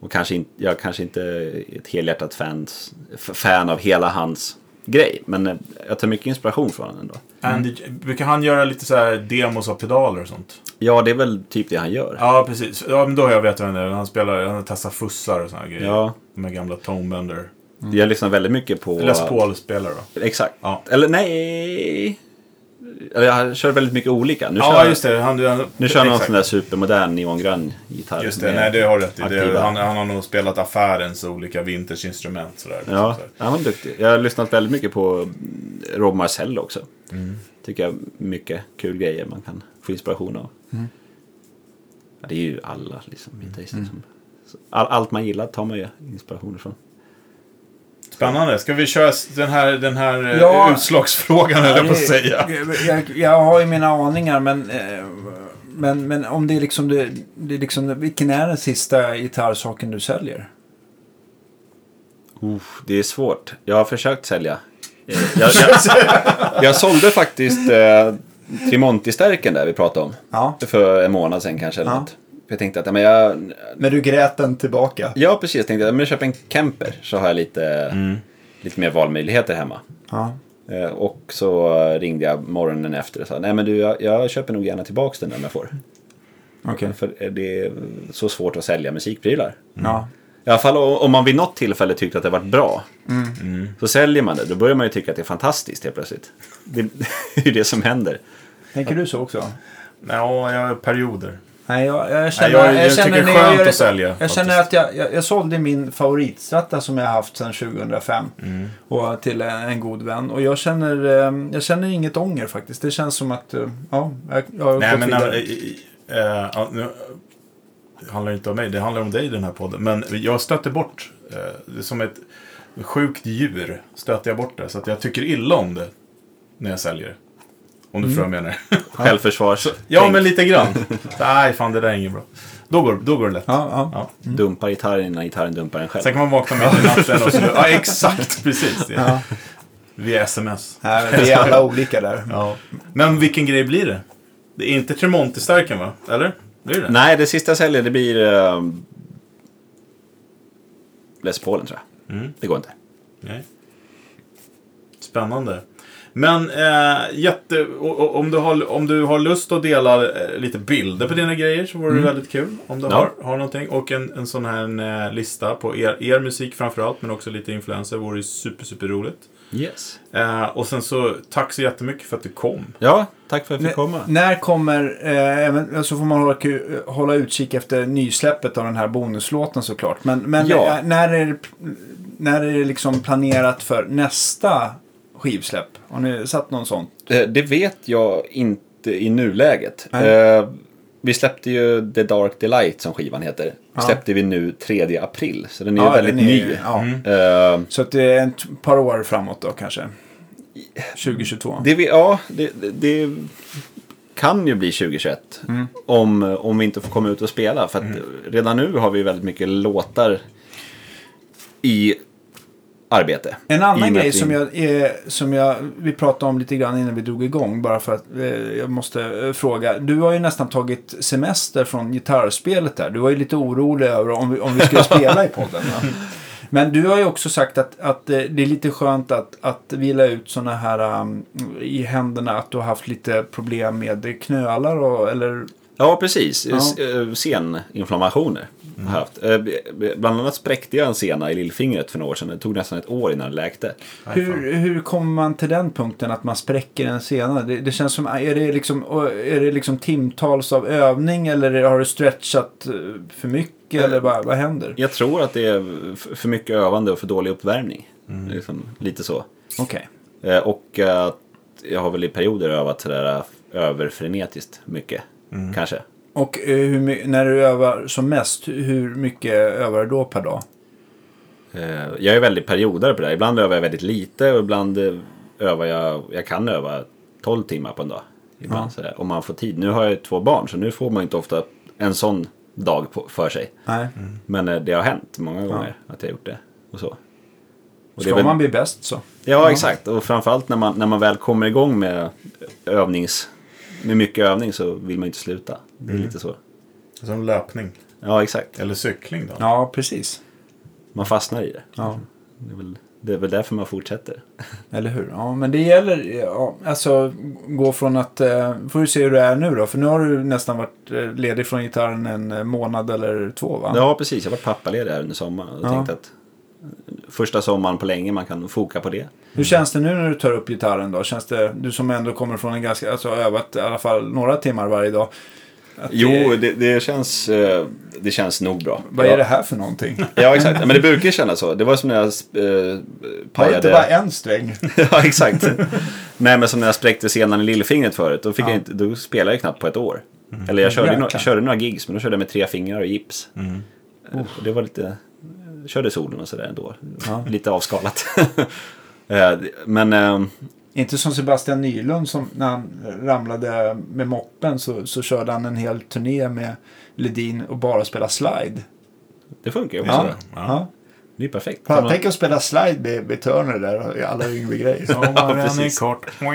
och kanske inte, jag kanske inte är ett helhjärtat fans, f- fan av hela hans grej. Men eh, jag tar mycket inspiration från honom ändå. Andy, brukar han göra lite så här demos av pedaler och sånt? Ja, det är väl typ det han gör. Ja, precis. Ja, men då har jag vet vem det är. Han spelar, han testar fussar och såna grejer. Ja. De här gamla Tonebender. Mm. Jag lyssnar väldigt mycket på... Les Paul-spelare då. Exakt. Ja. Eller nej... Eller jag kör väldigt mycket olika. Nu Ja, kör, just det. Han, han, Nu kör jag någon exakt. sån där supermodern neongrön gitarr. Just det, med- nej det har du rätt i. Det, aktiva. han, han har nog spelat affärens olika vintersinstrument sådär. Ja, Så här. han var duktig. Jag har lyssnat väldigt mycket på mm, Rob Marcel också. Tycker jag mycket kul grejer man kan få inspiration av. Mm. Ja, det är ju alla liksom, gitarrister. Mm. Som, så all, allt man gillar tar man ju inspiration ifrån. Spännande. Ska vi köra s- den här, den här eh, Ja. utslagsfrågan höll jag på att det- säga. Jag, jag, jag har ju mina aningar men, eh, men, men om det är liksom, det, det är liksom vilken är den sista gitarrsaken du säljer? Uff, det är svårt. Jag har försökt sälja. Eh, Jag, jag, jag sålde faktiskt eh, Tremonti-stärken där vi pratade om. Ja. För en månad sedan kanske. Eller Ja. något. Jag tänkte att ja, men jag, Men du grät den tillbaka. ja, precis, jag tänkte att men jag köper en camper så har jag lite, lite mer valmöjligheter hemma. Ja. Eh, och så ringde jag morgonen efter och sa nej men du jag, jag köper nog gärna tillbaka den om jag får. Okej. Mm. För eh, det är så svårt att sälja musikprylar. Ja. I alla fall om om man vid något tillfälle tyckte att det varit bra. mm, Så säljer man det, då börjar man ju tycka att det är fantastiskt helt plötsligt. Det är ju det som händer. Tänker du så också? Ja, jag har perioder. Nej, jag, jag känner, Nej, jag- jag känner tycker det är när jag skönt gör- att sälja, Jag faktiskt. känner att jag, jag, jag sålde min favoritstratta som jag haft sedan 2005. Mm. Och till en, en god vän. Och jag känner, eh, jag känner inget ånger faktiskt. Det känns som att eh, ja, jag, jag har Nej, gått men vidare. äh, i- i- eh, ja, nu, det handlar inte om mig, det handlar om dig i den här podden. Men jag stötte bort, eh, det är som ett sjukt djur stötte jag bort det. Så att jag tycker illa om det när jag säljer. Om Mm. du förstår vad jag menar. Självförsvars. Ja, Tänk. men lite grann. Nej, fan det där är inget bra. Då går, då går det lätt. Ja, ja. Ja. Dumpar gitarren innan gitarren dumpar en själv. Sen kan man vakna mitt i natten och så... Ja, exakt precis. Det. Via sms. Nej, Vi är alla olika där. Ja. Men vilken grej blir det? Det är inte Tremonti-stärken va? Eller? Blir det? Nej, det sista jag säljer det blir... Uh, Les Paulen tror jag. Mm. Det går inte. Nej. Spännande. Men eh, jätte, o- o- om, du har, om du har lust att dela eh, lite bilder på dina grejer så vore det väldigt kul. Om du Ja. har, har någonting. Och en, en sån här en, eh, lista på er, er musik framförallt men också lite influenser vore ju super, super roligt. Yes. Eh, och sen så tack så jättemycket för att du kom. Ja, tack för att jag fick Nä- komma. När kommer, eh, även, så får man hålla, ku- hålla utkik efter nysläppet av den här bonuslåten såklart. Men, men Ja. eh, när, är det, när är det liksom planerat för nästa skivsläpp? Har ni satt någon sån? Eh, Det, det vet jag inte i nuläget. Nej. Eh, vi släppte ju The Dark Delight som skivan heter. Släppte vi nu 3 april, så den är ju väldigt den är ju- ny. Ja. Eh, Så att det är ett par år framåt då kanske? 2022? det, vi, ja, det, det- det kan ju bli 2021 Mm. om, om vi inte får komma ut och spela. För att redan nu har vi väldigt mycket låtar i arbete. En I och annan med grej att vi- som, jag, eh, som jag, vi pratade om lite grann innan vi drog igång, bara för att eh, jag måste eh, fråga. Du har ju nästan tagit semester från gitarrspelet där. Du var ju lite orolig över om vi, om vi skulle spela i podden. Va? Men du har ju också sagt att, att eh, det är lite skönt att, att vila ut sådana här um, i händerna, att du har haft lite problem med knölar och, eller Ja, precis. Ja. S- eh, Seninflammationer har jag haft. Eh, b- b- Bland annat spräckte jag en sena i lillfingret för några år sedan. Det tog nästan ett år innan det läkte. Hur, hur kommer man till den punkten att man spräcker en sena? Det, det känns som, är det, liksom, är det liksom timtals av övning eller har du stretchat eh, för mycket eller vad, vad händer? Jag tror att det är f- för mycket övande och för dålig uppvärmning. Mm. Liksom, lite så. Okej. Eh, Och eh, att jag har väl i perioder övat sådär eh, överfrenetiskt mycket. Mm. Kanske. Och eh, hur, my- när du övar som mest, hur mycket övar du då per dag? Eh, Jag är väldigt periodare på det här. Ibland övar jag väldigt lite och ibland eh, övar jag, jag kan öva 12 timmar på en dag. Ibland sådär, om man får tid. Nu har jag ju två barn så nu får man inte ofta en sån dag på, för sig. Nej. Men eh, det har hänt många gånger att jag har gjort det. Och så. Och det är Ska väl- man bli bäst så? Ja, exakt. Och framförallt när man, när man väl kommer igång med övnings... Med mycket övning så vill man ju inte sluta. Det Mm. är lite så. Som löpning. Ja, exakt. Eller cykling då. Ja, precis. Man fastnar i det. Ja. Det är väl, det är väl därför man fortsätter. Eller hur? Ja, men det gäller ja, alltså gå från att, eh, får du se hur det är nu då, för nu har du nästan varit eh, ledig från gitarren en eh, månad eller två va? Ja, precis. Jag var pappaledig här under sommaren och Ja. tänkte att eh, första sommaren på länge man kan foka på det. Hur känns det nu när du tar upp gitarren då? Känns det, du som ändå kommer från en ganska, alltså har övat i alla fall några timmar varje dag. Att Jo, det, det, det, känns, eh, det känns nog bra. vad ja. är det här för någonting? Ja, exakt. Men det brukar kännas så. Det var som när jag eh, Har du pajade... inte bara en sträng? ja, exakt. Nej, men som när jag spräckte senan i lillfingret förut. Då, fick jag inte, då spelade jag knappt på ett år. Mm. Eller jag körde, några, Jäklar. körde några gigs, men då körde jag med tre fingrar och gips. Mm. Oh. Eh, och Det var lite... Jag körde solen och sådär ändå. Lite avskalat. Eh, det- men... ehm, Inte som Sebastian Nylund som när han ramlade med moppen så, så körde han en hel turné med Ledin och bara spela slide. det funkar ju också. Ja, då. ja. Det är ju perfekt. Fan, tänk att spela slide med, med Turner där och alla yngre grejer. Sommaren är precis. kort. Wow,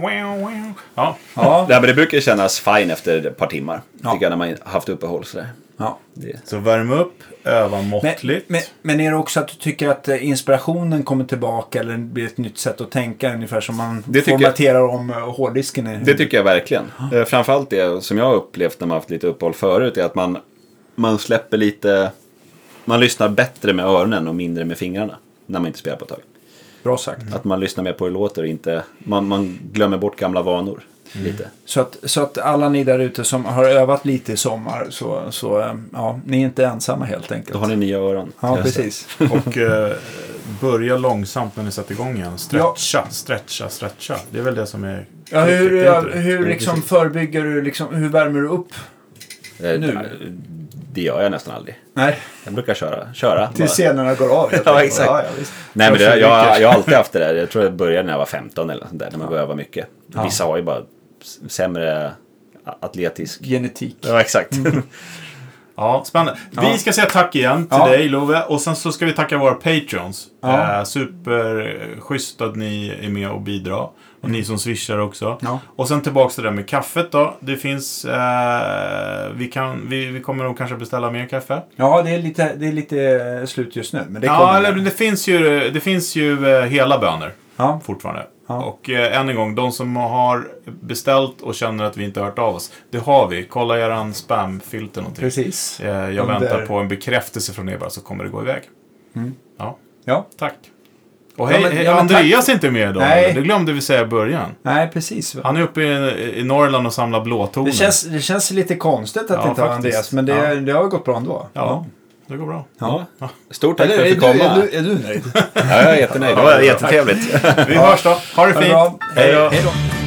wow, wow. Ja, ja. Nej, men det brukar kännas fine efter ett par timmar. Ja. Tycker jag när man haft uppehåll sådär. ja. Det, så värm upp, öva Men, måttligt. men, men är det också att du tycker att eh, inspirationen kommer tillbaka eller blir ett nytt sätt att tänka ungefär som man Det tycker jag. formaterar om eh, hårddisken? i- det tycker jag verkligen. Eh, Framförallt det som jag har upplevt när man haft lite uppehåll förut är att man, man släpper lite... Man lyssnar bättre med öronen och mindre med fingrarna. När man inte spelar på ett tag. Bra sagt. Att man lyssnar mer på hur det låter och inte... Man, man glömmer bort gamla vanor. Lite. Så att, så att alla ni där ute som har övat lite i sommar, så, så eh, ja, ni är inte ensamma helt enkelt. Då har ni nya öron. Ja, precis. Och eh, börja långsamt när ni sätter igång igen. Stretcha, stretcha, stretcha. Det är väl det som är... Ja, hur Det är inte det. hur liksom förebygger du, liksom, hur värmer du upp? Eh, Nu. d- det gör jag nästan aldrig. Nej. Jag brukar köra. köra Till bara. scenerna går av helt Ja, enkelt. exakt. Ja, ja, visst. Nej, men det, jag, jag har alltid haft det där. Jag tror jag började när jag var 15 eller något sånt där. När man började öva mycket. Vissa har ju bara s- sämre a- atletisk... Mm. Genetik. Ja, exakt. Ja, spännande. Vi ska säga tack igen till dig Love och sen så ska vi tacka våra patreons. Eh, superschysst att ni är med och bidrar. Och ni som swishar också. Ja. Och sen tillbaks till det där med kaffet då. Det finns... Eh, vi, kan, vi, vi kommer nog kanske beställa mer kaffe. Ja, det är lite, det är lite slut just nu. Men det ja, kommer. eller det finns ju, det finns ju eh, hela bönor Ja. fortfarande. Ja. Och eh, än en gång, de som har beställt och känner att vi inte har hört av oss. Det har vi. Kolla eran spamfilter någonting. Precis. Eh, Jag Under- väntar på en bekräftelse från er bara så kommer det gå iväg. Ja. Ja. Tack. Och hej, men- hej, ja, men Andreas är inte med idag. Nej. eller? Det glömde vi säga i början. Nej, precis. va? Han är uppe i, i Norrland och samlar blåtoner. Det känns, det känns lite konstigt att Ja, inte ha faktiskt. Andreas, men det, Ja. det har gått bra ändå. Ja, det går bra. Ja. Stort tack för Eller, att är, du du, fick komma. är, du, är du nöjd? Ja, jag är jättenöjd. Det var jättetrevligt. Vi hörs då. Ha det fint. Bra. Hej då. Hej då.